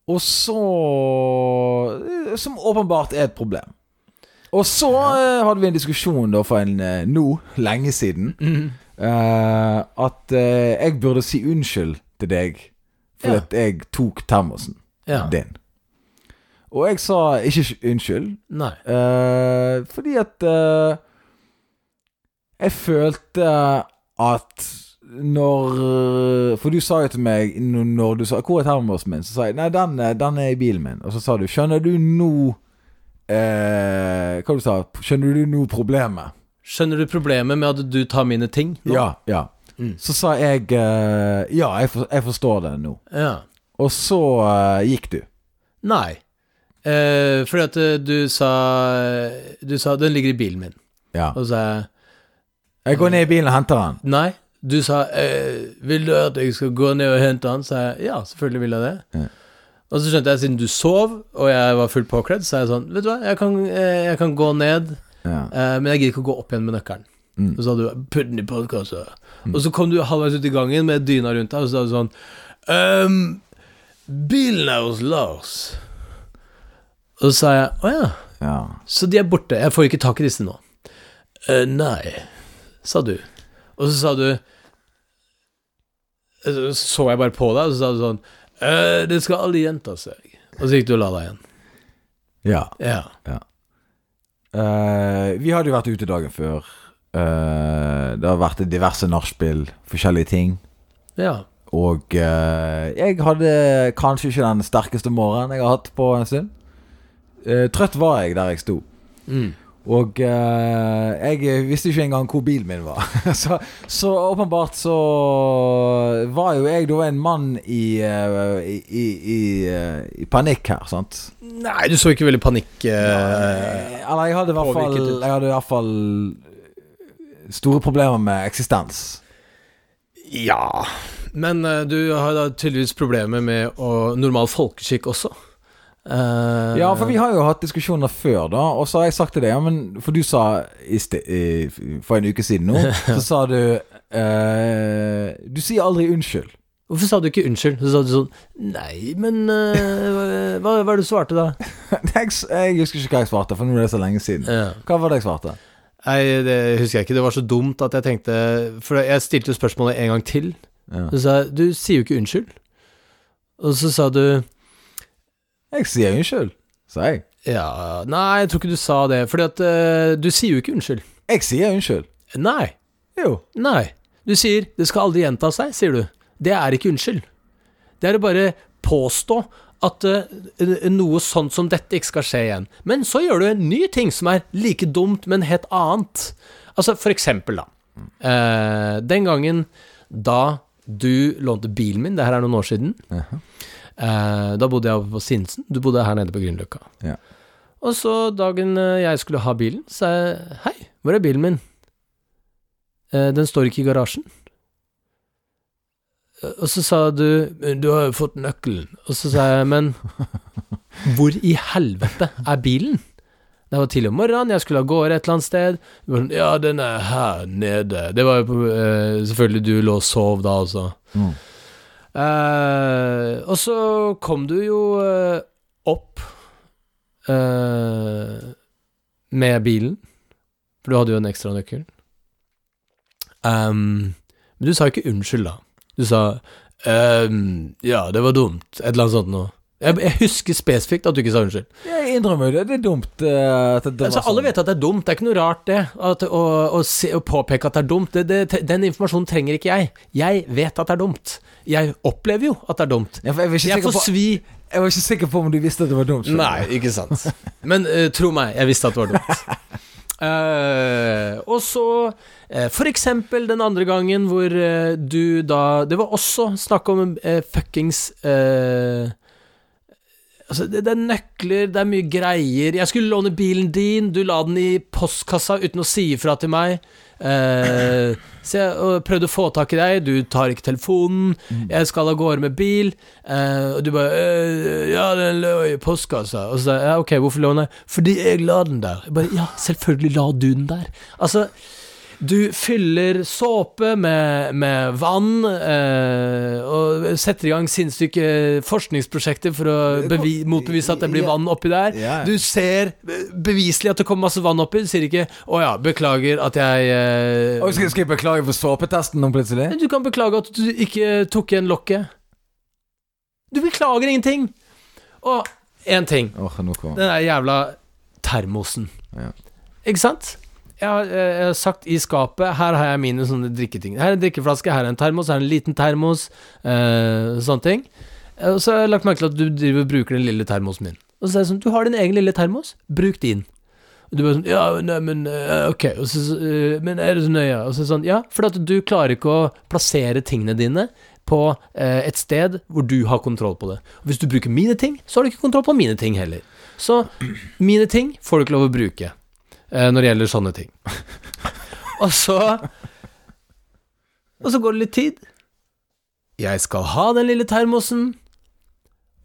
Speaker 2: Og så eh, Som åpenbart er et problem. Og så eh, hadde vi en diskusjon da for en eh, nå, lenge siden,
Speaker 3: Mhm.
Speaker 2: eh, at eh, jeg burde si unnskyld til deg for
Speaker 3: Ja.
Speaker 2: at jeg tok termosen
Speaker 3: Ja.
Speaker 2: din. Og jeg sa ikke unnskyld,
Speaker 3: Nei.
Speaker 2: eh, fordi at eh, Jeg følte at når For du sa jo til meg n- når du sa 'Hvor er termosen min?' Så sa jeg 'Nei, den, er- den er i bilen min'. Og så sa du 'Skjønner du nå eh, Hva du sa du? 'Skjønner du nå problemet?'
Speaker 3: Skjønner du problemet med at du tar mine ting nå?
Speaker 2: Ja. ja.
Speaker 3: Mm.
Speaker 2: Så sa jeg eh, 'Ja, jeg, for, jeg forstår det nå'.
Speaker 3: Ja.
Speaker 2: Og så eh, gikk du.
Speaker 3: Nei. Eh, fordi at eh, du sa eh, Du sa 'den ligger i bilen min',
Speaker 2: Ja.
Speaker 3: og så sa jeg
Speaker 2: Jeg går ned i bilen og henter den.
Speaker 3: nei. Du sa eh, 'vil du at jeg skal gå ned og hente han?' sa jeg ja, selvfølgelig vil jeg det.
Speaker 2: Ja.
Speaker 3: Og så skjønte jeg, siden du sov, og jeg var fullt påkledd, så sa jeg sånn 'vet du hva, jeg kan, eh, jeg kan gå ned',
Speaker 2: Ja.
Speaker 3: Eh, men jeg gidder ikke å gå opp igjen med nøkkelen.
Speaker 2: Mm.
Speaker 3: Og så hadde du 'Put den i postkassa'. Og så kom du halvveis ut i gangen med dyna rundt deg, og så sa du sånn «Ehm, 'Bilen er hos Lars'. Og så sa jeg 'Å ja,
Speaker 2: ja.
Speaker 3: så de er borte. Jeg får ikke tak i disse nå'. «Eh, 'Nei', sa du. Og så sa du eh, Så så jeg bare på deg, og så sa du sånn «Eh, 'Det skal alle gjenta seg'. Og så gikk du og la deg igjen.
Speaker 2: ja.
Speaker 3: Ja.
Speaker 2: Eh, vi hadde jo vært ute dagen før. Eh, det har vært diverse nachspiel, forskjellige ting.
Speaker 3: ja.
Speaker 2: Og eh, jeg hadde kanskje ikke den sterkeste morgenen jeg har hatt på en stund. Eh, trøtt var jeg der jeg sto.
Speaker 3: Mm.
Speaker 2: Og eh, jeg visste ikke engang hvor bilen min var. så, så åpenbart så var jo jeg da en mann i, eh, i, i, i, eh, i panikk her, sant.
Speaker 3: Nei, du så ikke veldig panikk... eh,
Speaker 2: Eh, Eller jeg hadde i hvert fall
Speaker 3: påvirket ut.
Speaker 2: Jeg hadde i hvert fall store problemer med eksistens.
Speaker 3: Ja Men eh, du har da tydeligvis problemer med å, normal folkeskikk også. Eh,
Speaker 2: Ja, for vi har jo hatt diskusjoner før, da, og så har jeg sagt til deg ja, men For du sa i ste, i, for en uke siden nå, så sa du eh, Du sier aldri unnskyld.
Speaker 3: Hvorfor sa du ikke unnskyld? Så sa du sånn Nei, men eh, hva, hva er det du svarte da?
Speaker 2: Jeg, s- jeg husker ikke hva jeg svarte, for nå er det så lenge siden.
Speaker 3: Ja.
Speaker 2: Hva var det jeg svarte?
Speaker 3: Nei, det husker jeg ikke. Det var så dumt at jeg tenkte For jeg stilte jo spørsmålet en gang til.
Speaker 2: Ja.
Speaker 3: Så sa jeg Du sier jo ikke unnskyld. Og så sa du
Speaker 2: Jeg sier unnskyld, sa jeg.
Speaker 3: Ja, nei, jeg tror ikke du sa det. Fordi at eh, du sier jo ikke unnskyld.
Speaker 2: Jeg sier unnskyld.
Speaker 3: Nei.
Speaker 2: Jo.
Speaker 3: Nei. Du sier 'det skal aldri gjenta seg', sier du. Det er ikke unnskyld. Det er å bare påstå at eh, noe sånt som dette ikke skal skje igjen. Men så gjør du en ny ting som er like dumt, men helt annet. Altså, for eksempel, da. Eh, den gangen da du lånte bilen min, det her er noen år siden,
Speaker 2: Jaha.
Speaker 3: eh, da bodde jeg oppe på Sinsen. Du bodde her nede på Grünerløkka.
Speaker 2: Ja.
Speaker 3: Og så dagen eh, jeg skulle ha bilen, sa jeg 'hei, hvor er bilen min?' Eh, den står ikke i garasjen. Eh, Og så sa du 'du har jo fått nøkkelen', og så sa jeg 'men hvor i helvete er bilen?' Det var tidlig om morgenen, jeg skulle av gårde et eller annet sted. Du var sånn, 'ja, den er her nede'. Det var jo på, eh, selvfølgelig du lå og sov da også.
Speaker 2: Mm.
Speaker 3: Eh, og så kom du jo eh, opp eh, med bilen, for du hadde jo en ekstra nøkkel. Ehm, men du sa ikke unnskyld, da. Du sa ehm, 'ja, det var dumt', et eller annet sånt noe. Jeg, jeg husker spesifikt at du ikke sa unnskyld.
Speaker 2: Jeg innrømmer jo det. Det er dumt. eh, at det, det
Speaker 3: Altså,
Speaker 2: var
Speaker 3: alle
Speaker 2: sånn.
Speaker 3: vet at det er dumt, det er ikke noe rart det. At, å, å, se, å påpeke at det er dumt, det, det, te- den informasjonen trenger ikke jeg. Jeg vet at det er dumt. Jeg opplever jo at det er dumt.
Speaker 2: Ja, for jeg, var ikke
Speaker 3: Jeg
Speaker 2: sikker
Speaker 3: får
Speaker 2: på,
Speaker 3: svi.
Speaker 2: jeg var ikke sikker på om du visste at det var dumt. skjønner du.
Speaker 3: ikke sant. Men eh, tro meg, jeg visste at det var dumt. Eh, og så eh, for eksempel den andre gangen hvor eh, du da Det var også snakk om eh, fuckings eh, Altså, det, det er nøkler, det er mye greier. Jeg skulle låne bilen din, du la den i postkassa uten å si ifra til meg. Eh, så jeg og prøvde å få tak i deg, du tar ikke telefonen. Jeg skal av gårde med bil, eh, og du bare «Øh, 'Ja, den lå i postkassa.' Og så sa jeg ja, 'Ok, hvorfor lå den der?' 'Fordi jeg la den der.' Jeg bare 'Ja, selvfølgelig la du den der.' Altså, du fyller såpe med, med vann eh, og setter i gang sinnssyke forskningsprosjekter for å bevi motbevise at det blir vann oppi der.
Speaker 2: Ja.
Speaker 3: Du ser beviselig at det kommer masse vann oppi, du sier ikke 'Å ja, beklager at jeg eh,
Speaker 2: Oi, skal, skal jeg beklage for såpetesten nå plutselig?
Speaker 3: men Du kan beklage at du ikke tok igjen lokket. Du beklager ingenting! Og én ting.
Speaker 2: Åh, nå kom
Speaker 3: Den der jævla termosen.
Speaker 2: Ja.
Speaker 3: Ikke sant? Jeg har, eh, jeg har sagt i skapet Her har jeg mine sånne drikketing. Her er en drikkeflaske, her er en termos, her er en liten termos. Eh, sånne ting. Eh, Og så har jeg lagt merke til at du driver og bruker den lille termosen min. Og så er det sånn Du har din egen lille termos, bruk din. Og du bare sånn Ja, nei, men eh, ok. Og så, eh, men er det så nøye? Og så er det sånn Ja, fordi at du klarer ikke å plassere tingene dine på eh, et sted hvor du har kontroll på det. Og hvis du bruker mine ting, så har du ikke kontroll på mine ting heller. Så mine ting får du ikke lov å bruke eh, når det gjelder sånne ting. Og så Og så går det litt tid. Jeg skal ha den lille termosen.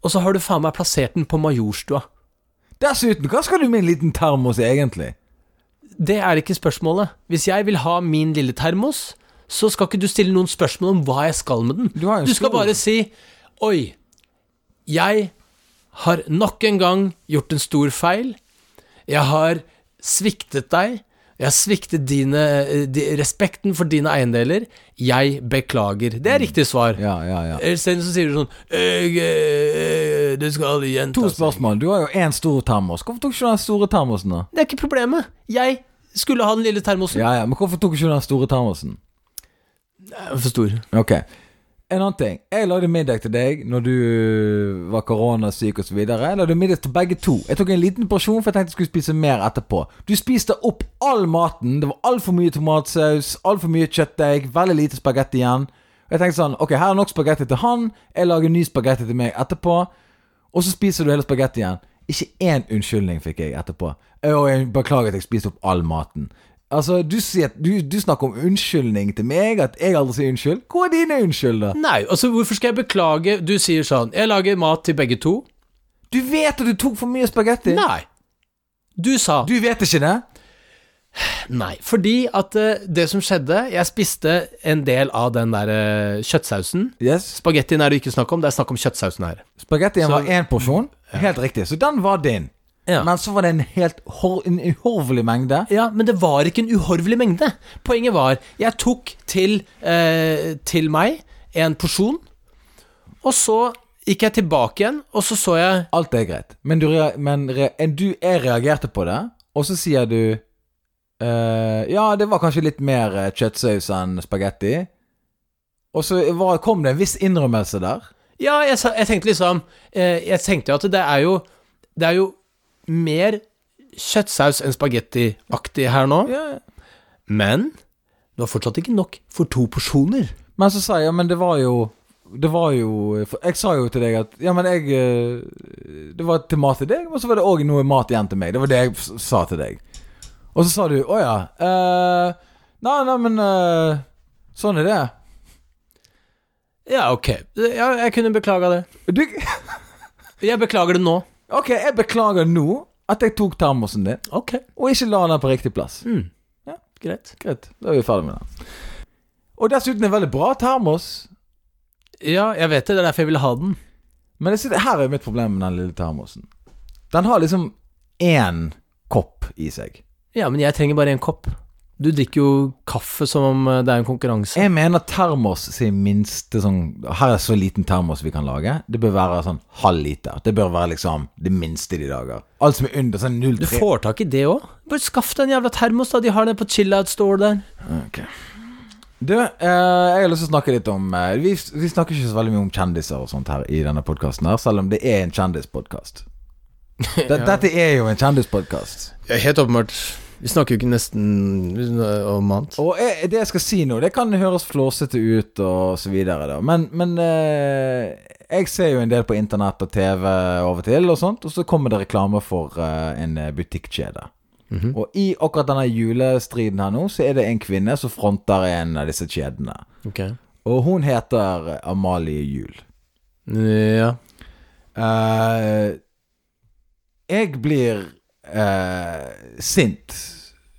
Speaker 3: Og så har du faen meg plassert den på Majorstua.
Speaker 2: Dessuten, hva skal du med en liten termos egentlig?
Speaker 3: Det er ikke spørsmålet. Hvis jeg vil ha min lille termos, så skal ikke du stille noen spørsmål om hva jeg skal med den.
Speaker 2: Du har jo en
Speaker 3: Du skal
Speaker 2: stor-
Speaker 3: bare si Oi, jeg har nok en gang gjort en stor feil. Jeg har sviktet deg. Jeg har sviktet dine, eh, di- respekten for dine eiendeler. Jeg beklager. Det er riktig svar.
Speaker 2: Ja, ja, ja.
Speaker 3: Isteden så sier du sånn «Jeg, eh, eh, Det skal aldri gjenta
Speaker 2: To
Speaker 3: seg.»
Speaker 2: spørsmål. Du har jo én stor termos. Hvorfor tok ikke du den store termosen, da?
Speaker 3: Det er ikke problemet. Jeg skulle ha den lille termosen.
Speaker 2: Ja, ja, Men hvorfor tok ikke du den store termosen?
Speaker 3: For stor.
Speaker 2: Ok. En annen ting. Jeg lagde middag til deg når du øh, var koronasyk osv. Jeg lagde middag til begge to. Jeg tok en liten porsjon, for jeg tenkte jeg skulle spise mer etterpå. Du spiste opp all maten. Det var altfor mye tomatsaus, altfor mye kjøttdeig, veldig lite spagetti igjen. Og jeg tenkte sånn Ok, her er nok spagetti til han. Jeg lager ny spagetti til meg etterpå. Og så spiser du hele spagettien. Ikke én unnskyldning fikk jeg etterpå. Å, jeg beklager at jeg spiste opp all maten. Altså, du, sier, du, du snakker om unnskyldning til meg, at jeg aldri sier unnskyld. Hvor er dine unnskyldninger?
Speaker 3: Nei, altså hvorfor skal jeg beklage Du sier sånn Jeg lager mat til begge to.
Speaker 2: Du vet at du tok for mye spagetti.
Speaker 3: Nei. Du sa
Speaker 2: Du vet ikke det?
Speaker 3: nei. Fordi at eh, det som skjedde Jeg spiste en del av den der eh, kjøttsausen.
Speaker 2: Yes.
Speaker 3: Spagettien er det ikke snakk om, det er snakk om kjøttsausen her.
Speaker 2: Spagettien
Speaker 3: Så-
Speaker 2: var én porsjon. Helt riktig. Så den var din.
Speaker 3: Ja.
Speaker 2: Men så var det en helt hor en uhorvelig mengde.
Speaker 3: Ja, men det var ikke en uhorvelig mengde. Poenget var, jeg tok til, eh, til meg en porsjon, og så gikk jeg tilbake igjen, og så så jeg
Speaker 2: Alt er greit. Men du, rea- men re en- du jeg reagerte på det, og så sier du eh, Ja, det var kanskje litt mer eh, kjøttsaus enn spagetti. Og så var, kom det en viss innrømmelse der.
Speaker 3: Ja, jeg, sa- jeg tenkte liksom eh, Jeg tenkte jo at det er jo Det er jo mer kjøttsaus enn spagettiaktig her nå, men det var fortsatt ikke nok for to porsjoner.
Speaker 2: Men så sa jeg ja, men det var jo Det var jo for Jeg sa jo til deg at ja, men jeg eh, Det var til mat til deg, og så var det òg noe mat igjen til meg. Det var det jeg s- sa til deg. Og så sa du å ja. eh, nei, nei, men eh, Sånn er det.
Speaker 3: Ja, ok. Ja, jeg kunne beklaga det.
Speaker 2: Du,
Speaker 3: Jeg beklager det nå.
Speaker 2: ok, jeg beklager nå at jeg tok termosen din,
Speaker 3: Ok,
Speaker 2: og ikke la den på riktig plass.
Speaker 3: greit.
Speaker 2: Greit, da er vi ferdig med den. Og dessuten en veldig bra termos.
Speaker 3: Ja, jeg vet det. Det er derfor jeg ville ha den.
Speaker 2: Men jeg synes, her er mitt problem med den lille termosen. Den har liksom én kopp i seg.
Speaker 3: Ja, men jeg trenger bare en kopp. Du drikker jo kaffe som om eh, det er en konkurranse.
Speaker 2: Jeg mener termos sin minste sånn Her er så liten termos vi kan lage. Det bør være sånn halv liter. Det bør være liksom det minste de lager. Alt som er under sånn
Speaker 3: Du
Speaker 2: 0,3
Speaker 3: får tak i det òg. Bare skaff deg en jævla termos, da. De har den på chill-out-store der.
Speaker 2: Ok. Du, eh, jeg har lyst til å snakke litt om eh, vi, vi snakker ikke så veldig mye om kjendiser og sånt her i denne podkasten, selv om det er en kjendispodkast. D- Dette er jo en kjendispodkast.
Speaker 3: Ja, helt åpenbart. Vi snakker jo ikke nesten om annet.
Speaker 2: Og jeg, det jeg skal si nå, det kan høres flåsete ut og så videre, da. Men, men eh, jeg ser jo en del på internett og TV av og til, og sånt, og så kommer det reklame for eh, en butikkjede. Og i akkurat denne julestriden her nå, så er det en kvinne som fronter en av disse kjedene.
Speaker 3: Ok.
Speaker 2: Og hun heter Amalie Juel.
Speaker 3: Ja.
Speaker 2: Eh, jeg blir eh, sint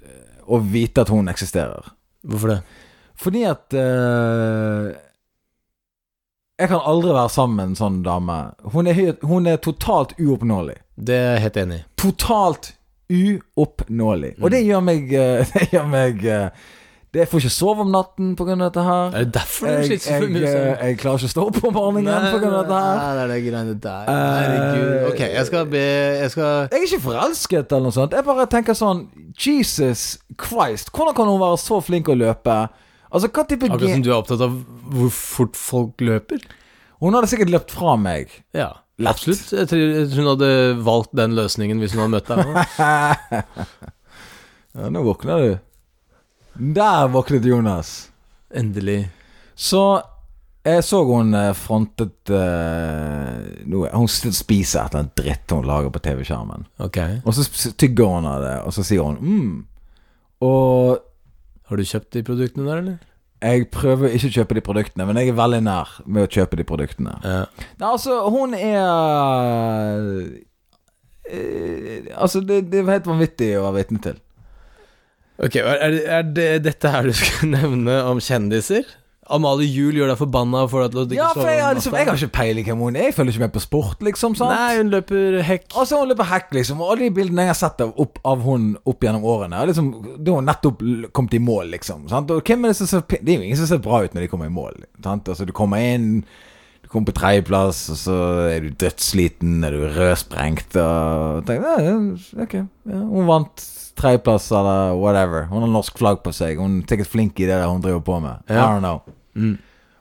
Speaker 2: eh, å vite at hun eksisterer.
Speaker 3: Hvorfor det?
Speaker 2: Fordi at eh, Jeg kan aldri være sammen med en sånn dame. Hun er, helt- hun er totalt uoppnåelig.
Speaker 3: Det er jeg helt enig i.
Speaker 2: Totalt uoppnåelig. Og
Speaker 3: Mm.
Speaker 2: det gjør meg eh, Det gjør meg eh, det, Jeg får ikke sove om natten pga. dette her.
Speaker 3: Er det derfor du
Speaker 2: Jeg,
Speaker 3: sliter så
Speaker 2: jeg,
Speaker 3: mye?
Speaker 2: eh, jeg klarer ikke å stå opp om morgenen pga. dette her. Eh,
Speaker 3: det er det greiene der.
Speaker 2: Herregud.
Speaker 3: Ok, jeg skal be Jeg skal
Speaker 2: Jeg er ikke forelsket eller noe sånt. Jeg bare tenker sånn Jesus Christ, hvordan kan hun være så flink å løpe? Altså, hva type
Speaker 3: Akkurat som
Speaker 2: gen...
Speaker 3: du er opptatt av hvor fort folk løper?
Speaker 2: Hun hadde sikkert løpt fra meg.
Speaker 3: Ja.
Speaker 2: Lett.
Speaker 3: Absolutt. Jeg tror jeg tror hun hadde valgt den løsningen hvis hun hadde møtt deg. nå.
Speaker 2: Ja, nå våkner du. Der våknet Jonas.
Speaker 3: Endelig.
Speaker 2: Så jeg så hun eh, frontet eh, noe. Hun s- spiser et eller annet dritt hun lager på TV-skjermen.
Speaker 3: Ok.
Speaker 2: Og så s- tygger hun av det, og så sier hun mm. Og
Speaker 3: Har du kjøpt de produktene der, eller?
Speaker 2: jeg prøver ikke å kjøpe de produktene, men jeg er veldig nær med å kjøpe de produktene.
Speaker 3: Ja.
Speaker 2: Nei, altså, hun er eh, Altså, det, det er helt vanvittig å være vitne til.
Speaker 3: Ok, er, er det dette her du skulle nevne om kjendiser? Amalie Juel gjør deg forbanna for at du ikke
Speaker 2: Ja, for
Speaker 3: sover
Speaker 2: jeg, har
Speaker 3: om
Speaker 2: liksom,
Speaker 3: natta.
Speaker 2: jeg har ikke peiling hvem hun er. Jeg følger ikke med på sport, liksom. sant?
Speaker 3: Nei, hun løper hekk.
Speaker 2: Og så hun løper hekk, liksom. Og alle de bildene jeg har sett av, opp, av hun opp gjennom årene er liksom, Da har hun nettopp l- kommet i mål, liksom. Sant? Og hvem er det som ser pe- Det er jo ingen som ser bra ut når de kommer i mål. Sant? Altså, du kommer inn, du kommer på tredjeplass, og så er du dødssliten, er du rødsprengt og tenker, «Ja, ja, Ok, ja, hun vant tredjeplass eller whatever. Hun har norsk flagg på seg. Hun er sikkert flink i det der hun driver på med. I
Speaker 3: Ja.
Speaker 2: don't know.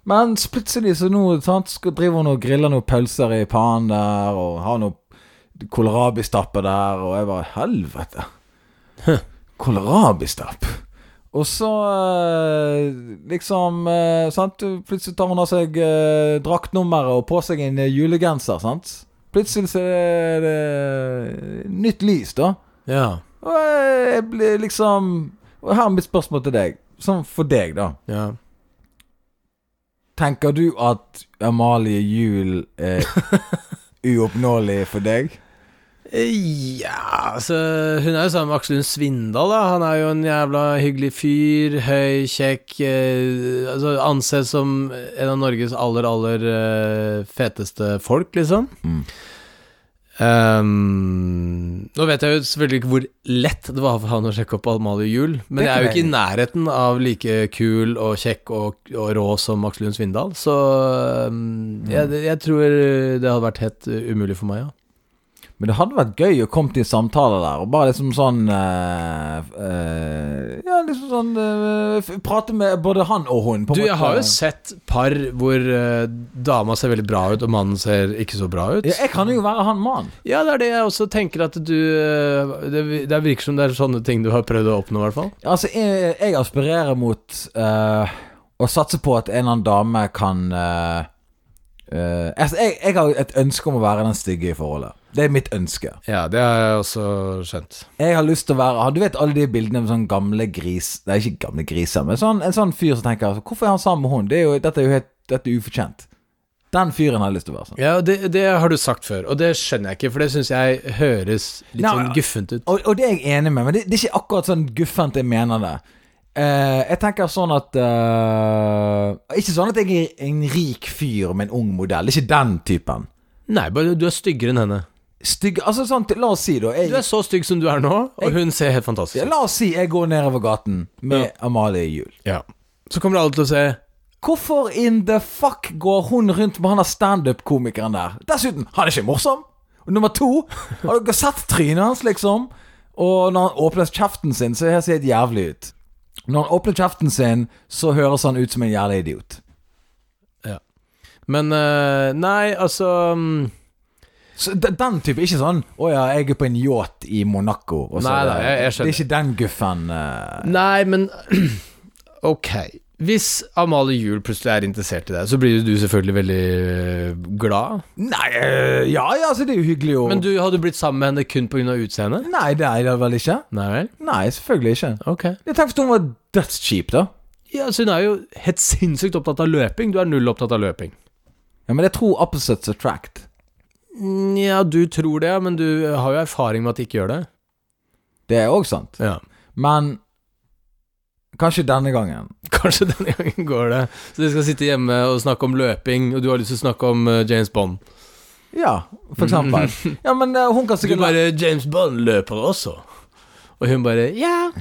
Speaker 2: Men så plutselig så nå sant, skal driver hun og griller noen pølser i pannen der, og har noe kålrabistappe der, og jeg bare Helvete! Kålrabistapp? Og så eh, liksom eh, sant, Plutselig tar hun av seg eh, draktnummeret og på seg en eh, julegenser, sant? Plutselig så er det nytt lys, da.
Speaker 3: Ja.
Speaker 2: Og jeg blir liksom Og her er mitt spørsmål til deg. Sånn for deg, da.
Speaker 3: Ja.
Speaker 2: Tenker du at Amalie Juel er uoppnåelig for deg?
Speaker 3: Ja, altså Hun er jo sammen med Aksel Lund Svindal, da. Han er jo en jævla hyggelig fyr. Høy, kjekk eh, Altså ansett som en av Norges aller, aller eh, feteste folk, liksom.
Speaker 2: Mm.
Speaker 3: Ehm, nå vet jeg jo selvfølgelig ikke hvor lett det var for han å sjekke opp Amalie Juel, men
Speaker 2: Det
Speaker 3: jeg er jo ikke i
Speaker 2: kan
Speaker 3: nærheten av like kul og kjekk og, og rå som Aksel Lund Svindal, så ehm,
Speaker 2: Mm.
Speaker 3: jeg, jeg tror det hadde vært helt eh, umulig for meg, ja.
Speaker 2: Men det hadde vært gøy å komme til en samtale der, og bare liksom sånn eh, eh, Ja, liksom sånn eh, f- Prate med både han og hun. på en
Speaker 3: Du, jeg
Speaker 2: måte.
Speaker 3: har jo sett par hvor eh, dama ser veldig bra ut, og mannen ser ikke så bra ut.
Speaker 2: ja, Jeg kan jo være han mannen.
Speaker 3: Ja, det er det jeg også tenker at du eh, Det, det virker som det er sånne ting du har prøvd å oppnå, i hvert fall.
Speaker 2: Altså, jeg, jeg aspirerer mot eh, å satse på at en eller annen dame kan eh, eh, altså, jeg, jeg har et ønske om å være den stygge i forholdet. Det er mitt ønske.
Speaker 3: Ja, det har jeg også skjønt.
Speaker 2: Jeg har lyst til å være Du vet alle de bildene med sånn gamle gris Nei, ikke gamle griser, men sånn, en sånn fyr som tenker altså, Hvorfor er han sammen med hun? Det er jo, dette er jo helt dette er ufortjent. Den fyren har jeg lyst til å være sånn.
Speaker 3: Ja, og det, det har du sagt før, og det skjønner jeg ikke, for det syns jeg høres litt
Speaker 2: Nei,
Speaker 3: sånn guffent ut.
Speaker 2: Og, og det er jeg enig med, men det, det er ikke akkurat sånn guffent jeg mener det. Eh, jeg tenker sånn at eh, Ikke sånn at jeg er en rik fyr med en ung modell. Ikke den typen.
Speaker 3: Nei, bare du er styggere enn henne.
Speaker 2: Stygg Altså sånn, til- la oss si, da.
Speaker 3: Du er
Speaker 2: Jeg,
Speaker 3: så stygg som du er nå, og hun ser helt fantastisk ut.
Speaker 2: la oss si jeg går nedover gaten med Amalie Juel.
Speaker 3: Ja. Så kommer alle til å se
Speaker 2: Hvorfor in the fuck går hun rundt med han der standup-komikeren der? Dessuten, han er ikke morsom. Og nummer to, har dere sett trynet hans, liksom? Og når han åpner kjeften sin, så ser det helt jævlig ut. Når han åpner kjeften sin, så høres han ut som en jævla idiot.
Speaker 3: Men eh, nei, altså mm,
Speaker 2: Så de- den type, ikke sånn 'Å ja, jeg er på en yacht i Monaco'. og så
Speaker 3: Nei,
Speaker 2: er
Speaker 3: nei, jeg- jeg skjønner.
Speaker 2: Det er ikke den guffen eh,
Speaker 3: Nei, men Ok. Hvis Amalie Juel plutselig er interessert i deg, så blir jo du selvfølgelig veldig øh, glad.
Speaker 2: Nei, eh, ja ja, altså, det er jo hyggelig å
Speaker 3: Men du hadde blitt sammen med henne kun pga. utseendet?
Speaker 2: Nei, det er det vel ikke?
Speaker 3: Nei vel?
Speaker 2: Nei, selvfølgelig ikke.
Speaker 3: Ok.
Speaker 2: Jeg tenkte at hun var dødskjip, da.
Speaker 3: Ja, så Hun er jo helt sinnssykt opptatt av løping. Du er null opptatt av løping.
Speaker 2: Ja, men jeg tror opposites attract.
Speaker 3: Nja, du tror det, men du har jo erfaring med at de ikke gjør det.
Speaker 2: Det er òg sant.
Speaker 3: Ja.
Speaker 2: Men kanskje denne gangen.
Speaker 3: Kanskje denne gangen går det. Så de skal sitte hjemme og snakke om løping, og du har lyst til å snakke om øh, James Bond.
Speaker 2: Ja, for eksempel. Ja, men eh, hun kan
Speaker 3: Du
Speaker 2: sikkert
Speaker 3: bare 'James Bond løper også'. Og hun bare 'ja'.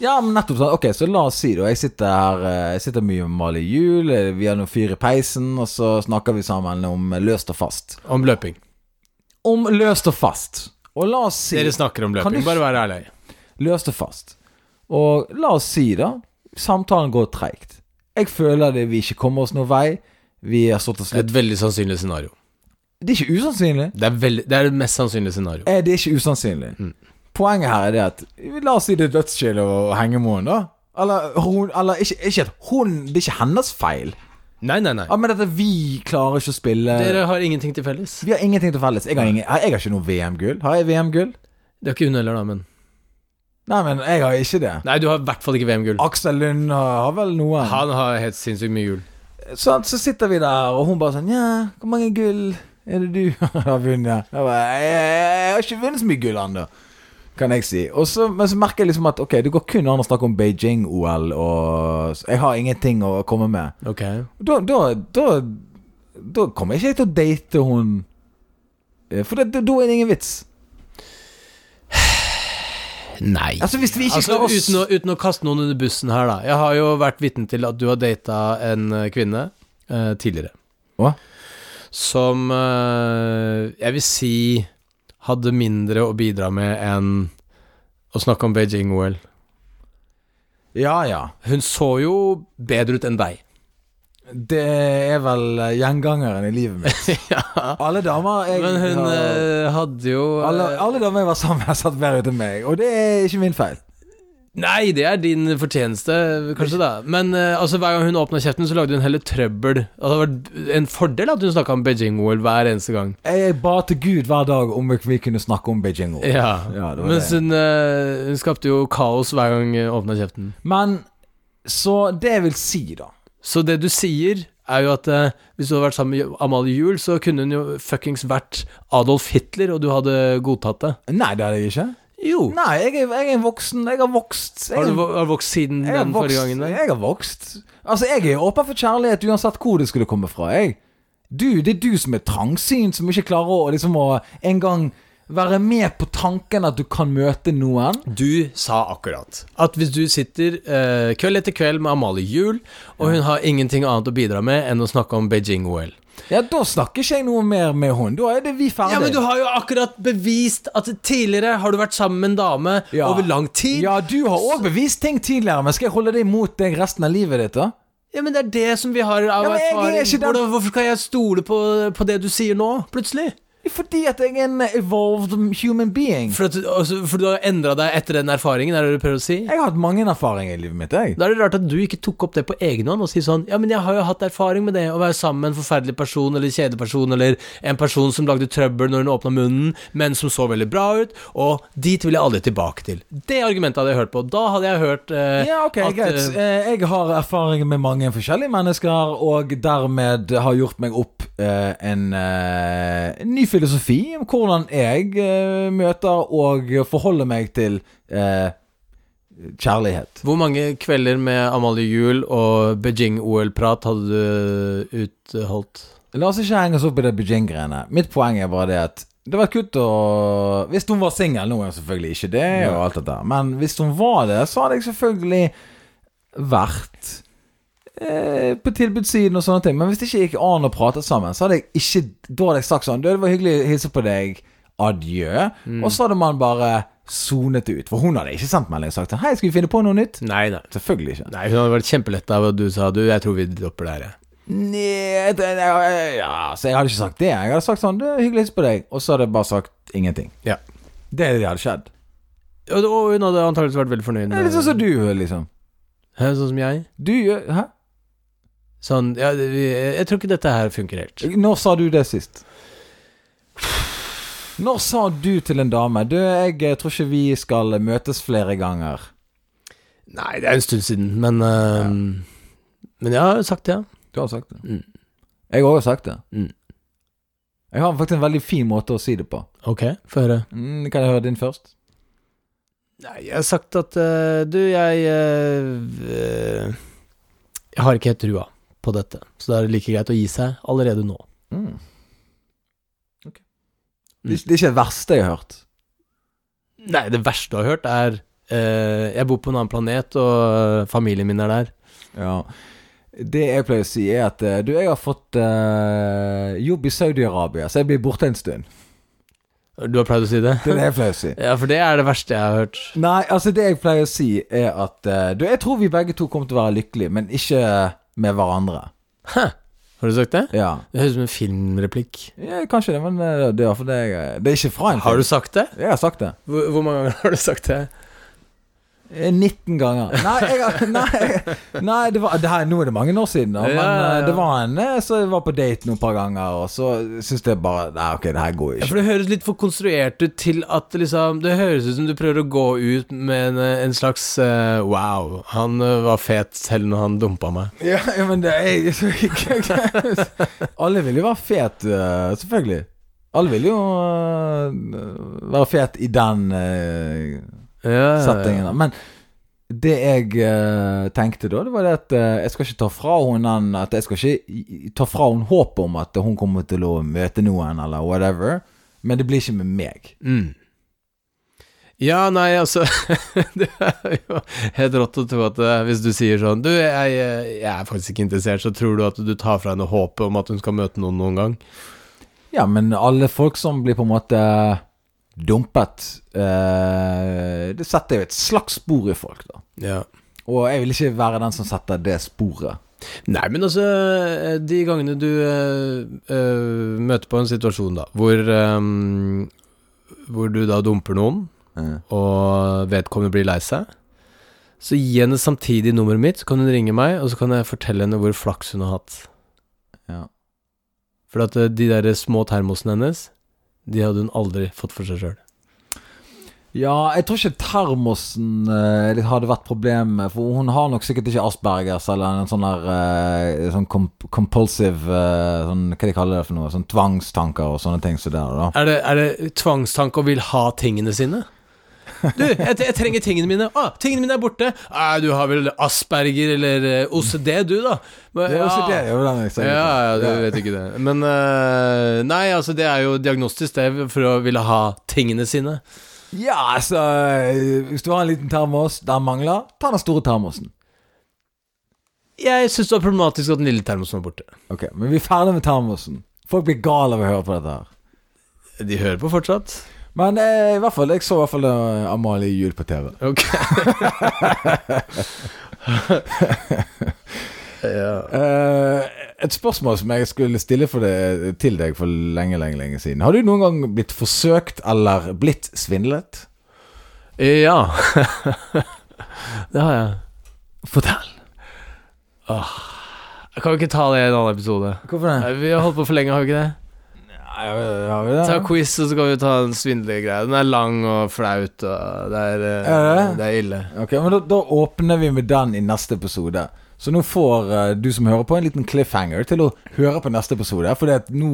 Speaker 2: Ja, men nettopp sånn. Ok, så la oss si det. og Jeg sitter her eh, Jeg sitter mye med Mali Jul, eh, vi har noen fyr i peisen, og så snakker vi sammen om eh, løst og fast.
Speaker 3: Om løping.
Speaker 2: Om løst og fast. Og la oss si
Speaker 3: Dere snakker om
Speaker 2: Kan du-
Speaker 3: løping, bare vær ærlig.
Speaker 2: løst og fast. Og la oss si, da, samtalen går treigt. Jeg føler det vi ikke kommer oss noen vei. Vi har stått og
Speaker 3: Det er
Speaker 2: slutt.
Speaker 3: et veldig sannsynlig scenario.
Speaker 2: Det er ikke usannsynlig.
Speaker 3: Det er, veldig, det er det mest sannsynlige scenario.
Speaker 2: Eh, Det er ikke usannsynlig.
Speaker 3: Mm.
Speaker 2: Poenget her er det at La oss si det er dødskjedelig å henge med henne, da. Eller, hun, eller ikke, ikke at hun Det er ikke hennes feil.
Speaker 3: Nei, nei, nei.
Speaker 2: Ja, men dette vi klarer ikke å spille
Speaker 3: Dere har ingenting til felles.
Speaker 2: Vi har ingenting til felles. Jeg har, ingen, jeg har ikke noe VM-gull. Har jeg VM-gull?
Speaker 3: Det er ikke hun heller, da, men
Speaker 2: Nei, men jeg har ikke det.
Speaker 3: Nei, du har i hvert fall ikke VM-gull.
Speaker 2: Aksel Lund har, har vel noe.
Speaker 3: Han har helt sinnssykt mye gull.
Speaker 2: Så, så sitter vi der, og hun bare sånn Ja, hvor mange gull er det du har vunnet? Jeg, bare, jeg, jeg, jeg har ikke vunnet så mye gull ennå, kan jeg si. Og så, men så merker jeg liksom at ok, det går kun an å snakke om Beijing-OL, og så jeg har ingenting å komme med.
Speaker 3: Ok.
Speaker 2: Da, da, da, da kommer jeg ikke til å date hun Eh, For det- det- da er det ingen vits.
Speaker 3: Nei.
Speaker 2: Altså, hvis vi ikke
Speaker 3: Altså,
Speaker 2: klarer å s-
Speaker 3: uten, å, uten å kaste noen under bussen her, da. Jeg har jo vært vitne til at du har data en eh, kvinne eh, tidligere.
Speaker 2: Hva?
Speaker 3: Som eh, jeg vil si hadde mindre å bidra med enn å snakke om Beijing-OL.
Speaker 2: Ja ja.
Speaker 3: Hun så jo bedre ut enn deg.
Speaker 2: Det er vel eh, gjengangeren i livet mitt.
Speaker 3: ja.
Speaker 2: Alle damer jeg
Speaker 3: Men hun
Speaker 2: har-
Speaker 3: eh, hadde jo eh,
Speaker 2: alle, alle damer jeg var sammen med, har sett bedre ut enn meg, og det er ikke min feil.
Speaker 3: Nei, det er din fortjeneste, kanskje, da. Men eh, altså, hver gang hun åpna kjeften, så lagde hun heller trøbbel. Altså, det hadde vært en fordel at hun snakka om Beijing-OL hver eneste gang.
Speaker 2: Jeg ba til Gud hver dag om vi kunne snakke om Beijing. også.
Speaker 3: Ja,
Speaker 2: Ja, det var
Speaker 3: Mens
Speaker 2: det.
Speaker 3: hun, eh, hun skapte jo kaos hver gang hun åpna kjeften.
Speaker 2: Men så det jeg vil si, da
Speaker 3: Så det du sier, er jo at eh, hvis du hadde vært sammen med Amalie Juel, så kunne hun jo fuckings vært Adolf Hitler, og du hadde godtatt det.
Speaker 2: Nei, det er det ikke.
Speaker 3: Jo.
Speaker 2: Nei, jeg er, jeg er voksen. Jeg har vokst. Jeg,
Speaker 3: Har du vo- har du vokst siden
Speaker 2: jeg har
Speaker 3: den
Speaker 2: vokst.
Speaker 3: forrige gangen? Der?
Speaker 2: Jeg har vokst. Altså, jeg er åpen for kjærlighet uansett hvor det skulle komme fra. Jeg. Du, det er du som er trangsynt, som ikke klarer å liksom å en gang være med på tanken at du kan møte noen.
Speaker 3: Du sa akkurat at hvis du sitter eh, kveld etter kveld med Amalie Juel, og hun har ingenting annet å bidra med enn å snakke om Beijing-OL
Speaker 2: Ja, da snakker ikke jeg noe mer med hun. Da er det vi ferdig.
Speaker 3: Ja, men du har jo akkurat bevist at tidligere har du vært sammen med en dame
Speaker 2: Ja.
Speaker 3: over lang tid.
Speaker 2: Ja, du har òg bevist ting tidligere, men skal jeg holde det imot deg resten av livet ditt, da?
Speaker 3: Ja, men det er det som vi har
Speaker 2: Ja,
Speaker 3: av
Speaker 2: men jeg er
Speaker 3: erfaring.
Speaker 2: ikke den-
Speaker 3: Hvordan, hvorfor kan jeg stole på, på det du sier nå, plutselig?
Speaker 2: Fordi at jeg er en evolved human being.
Speaker 3: For, at, altså, for du har endra deg etter den erfaringen, er det det du prøver å si?
Speaker 2: Jeg har hatt mange erfaringer i livet mitt, jeg.
Speaker 3: Da er det rart at du ikke tok opp det på egen hånd og sier sånn Ja, men jeg har jo hatt erfaring med det, å være sammen med en forferdelig person eller kjedelig person, eller en person som lagde trøbbel når hun åpna munnen, men som så veldig bra ut, og dit vil jeg aldri tilbake til. Det argumentet hadde jeg hørt på. Da hadde jeg hørt eh,
Speaker 2: Ja, ok,
Speaker 3: at,
Speaker 2: greit.
Speaker 3: eh,
Speaker 2: Eh, Jeg har erfaring med mange forskjellige mennesker, og dermed har gjort meg opp eh, en eh, en ny filosofi om hvordan jeg eh, møter og forholder meg til eh, kjærlighet.
Speaker 3: hvor mange kvelder med Amalie Juel og Beijing-OL-prat hadde du utholdt?
Speaker 2: La oss ikke henge oss opp i det Beijing-greiene. Mitt poeng er bare det at det var kutt å Hvis hun var singel, nå er hun selvfølgelig ikke det, og alt dette, men hvis hun var det, så hadde jeg selvfølgelig vært eh, på tilbudssiden og sånne ting. Men hvis det ikke gikk an å prate sammen, så hadde jeg ikke Da hadde jeg sagt sånn Du, det var hyggelig å hilse på deg. Adjø. Og så hadde man bare sonet ut. For hun hadde ikke sendt melding og sagt sånn Hei, skal vi finne på noe nytt?
Speaker 3: Nei, nei.
Speaker 2: Selvfølgelig ikke.
Speaker 3: Nei, Hun hadde vært kjempeletta av at du sa du, jeg tror vi dropper det her, jeg.
Speaker 2: Nei, det- det- ja, så jeg hadde ikke sagt det. Jeg hadde sagt sånn det er 'Hyggelig å hilse på deg', og så hadde jeg bare sagt ingenting.
Speaker 3: Ja.
Speaker 2: Det er det hadde skjedd.
Speaker 3: Og og hun hadde antakeligvis vært veldig fornøyd
Speaker 2: Det er
Speaker 3: med
Speaker 2: litt sånn som du, liksom.
Speaker 3: Hæ, Sånn som jeg?
Speaker 2: Du gjør Hæ?
Speaker 3: Sånn, ja, det- vi- jeg tror ikke dette her funker helt.
Speaker 2: Når sa du det sist? Når sa du til en dame 'Du, jeg tror ikke vi skal møtes flere ganger'?
Speaker 3: Nei, det er en stund siden, men eh, Men jeg har jo sagt det, ja.
Speaker 2: Du har sagt det.
Speaker 3: Mm.
Speaker 2: Jeg har også sagt det.
Speaker 3: Mm.
Speaker 2: Jeg har faktisk en veldig fin måte å si det på.
Speaker 3: Ok, få høre.
Speaker 2: Mm, kan jeg høre din først?
Speaker 3: Nei, jeg har sagt at eh, Du, jeg eh, eh, Jeg har ikke helt trua på dette, så da er det like greit å gi seg allerede nå.
Speaker 2: Mm. Ok.
Speaker 3: Mm.
Speaker 2: Det, er- det er ikke det verste jeg har hørt.
Speaker 3: Nei, det verste jeg har hørt, er eh, Jeg bor på en annen planet, og eh, familien min er der.
Speaker 2: Ja. Det jeg pleier å si, er at eh, du, jeg har fått eh, jobb i Saudi-Arabia, så jeg blir borte en stund.
Speaker 3: Du har pleid å si det?
Speaker 2: Det er det jeg pleier å si.
Speaker 3: Ja, for det er det verste jeg har hørt.
Speaker 2: Nei, altså det jeg pleier å si, er at eh, du, jeg tror vi begge to kommer til å være lykkelige, men ikke med hverandre.
Speaker 3: Hæ? Har du sagt det?
Speaker 2: Ja.
Speaker 3: Det høres ut som en filmreplikk.
Speaker 2: ja kanskje det, men eh, det er, for det, jeg, det er ikke fra en
Speaker 3: Har du sagt det?
Speaker 2: Jeg har sagt det.
Speaker 3: Hvor, hvor mange ganger har du sagt det?
Speaker 2: Eh, 19 ganger. Nei, jeg, har- nei, jeg, nei det var, det her, nå er det mange år siden, da, men
Speaker 3: Ja, ja, ja.
Speaker 2: eh, det var en eh, Så jeg var på date noen par ganger, og så syns jeg bare Nei, ok, det her går
Speaker 3: Ja,
Speaker 2: ikke.
Speaker 3: for det høres litt for konstruert ut til at det liksom Det høres ut som du prøver å gå ut med en, eh, en slags eh, Wow, han eh, var fet selv når han dumpa meg.
Speaker 2: Ja, ja, men det er så Alle vil jo være fet, eh, selvfølgelig. Alle vil jo eh, være fet i den eh,
Speaker 3: Ja,
Speaker 2: settingen. da. Men det jeg eh, tenkte da, det var det at eh, jeg skal ikke ta fra henne den At jeg skal ikke i- i- ta fra henne håpet om at hun kommer til å møte noen, eller whatever. Men det blir ikke med meg.
Speaker 3: Mm. Ja, nei, altså Det er jo helt rått å tro at eh, hvis du sier sånn Du, jeg, eh, jeg er faktisk ikke interessert, så tror du at du tar fra henne håpet om at hun skal møte noen noen gang?
Speaker 2: Ja, men alle folk som blir på en måte dumpet eh, Det setter jo et slags spor i folk, da.
Speaker 3: Ja.
Speaker 2: Og jeg vil ikke være den som setter det sporet.
Speaker 3: Nei, men altså, eh, de gangene du eh, eh, møter på en situasjon da, hvor, eh, hvor du da dumper noen, og vedkommende blir lei seg, Så gi henne samtidig nummeret mitt, så kan hun ringe meg, og så kan jeg fortelle henne hvor flaks hun har hatt.
Speaker 2: Ja.
Speaker 3: For at eh, de der små termosene hennes, de hadde hun aldri fått for seg sjøl.
Speaker 2: Ja, jeg tror ikke termosen eh, det hadde vært problemet, for hun har nok sikkert ikke Aspergers eller en sånn der eh, sånn comp compulsive eh, sånn, Hva de kaller det for noe? Sånn tvangstanker og sånne ting som det der, da.
Speaker 3: Er det, er det tvangstanke å vil ha tingene sine? Du, jeg, jeg trenger tingene mine. Å, tingene mine er borte. Nei, du har vel asperger eller eh, OCD, du, da. Men,
Speaker 2: Det er jo ikke det, det er jo den jeg
Speaker 3: Ja,
Speaker 2: sier.
Speaker 3: ja, du vet ikke det. Men eh, Nei, altså, det er jo diagnostisk, det, for å ville ha tingene sine.
Speaker 2: Ja, altså eh, Hvis du har en liten termos der den mangler, ta den store termosen.
Speaker 3: Jeg syns det var problematisk at den lille termosen var borte.
Speaker 2: Ok, Men vi er ferdig med termosen. Folk blir gale av å høre på dette her.
Speaker 3: De hører på fortsatt.
Speaker 2: Men eh, i hvert fall, jeg så i hvert fall eh, Amalie Juel på TV.
Speaker 3: Ok. ja.
Speaker 2: Eh, et spørsmål som jeg skulle stille for det, til deg for lenge, lenge lenge siden. Har du noen gang blitt forsøkt eller blitt svindlet?
Speaker 3: ja. det har jeg.
Speaker 2: Fortell.
Speaker 3: Jeg kan vi ikke ta det i en annen episode?
Speaker 2: Hvorfor det?
Speaker 3: Nei, Vi har holdt på for lenge, har vi ikke det?
Speaker 2: Har vi det?
Speaker 3: Ta quiz, og så kan vi ta den svindlegreia. Den er lang og flaut, og det er, eh,
Speaker 2: Er det?
Speaker 3: det er ille.
Speaker 2: Ok, men da, da åpner vi med den i neste episode. Så nå får eh, du som hører på, en liten cliffhanger til å høre på neste episode. For nå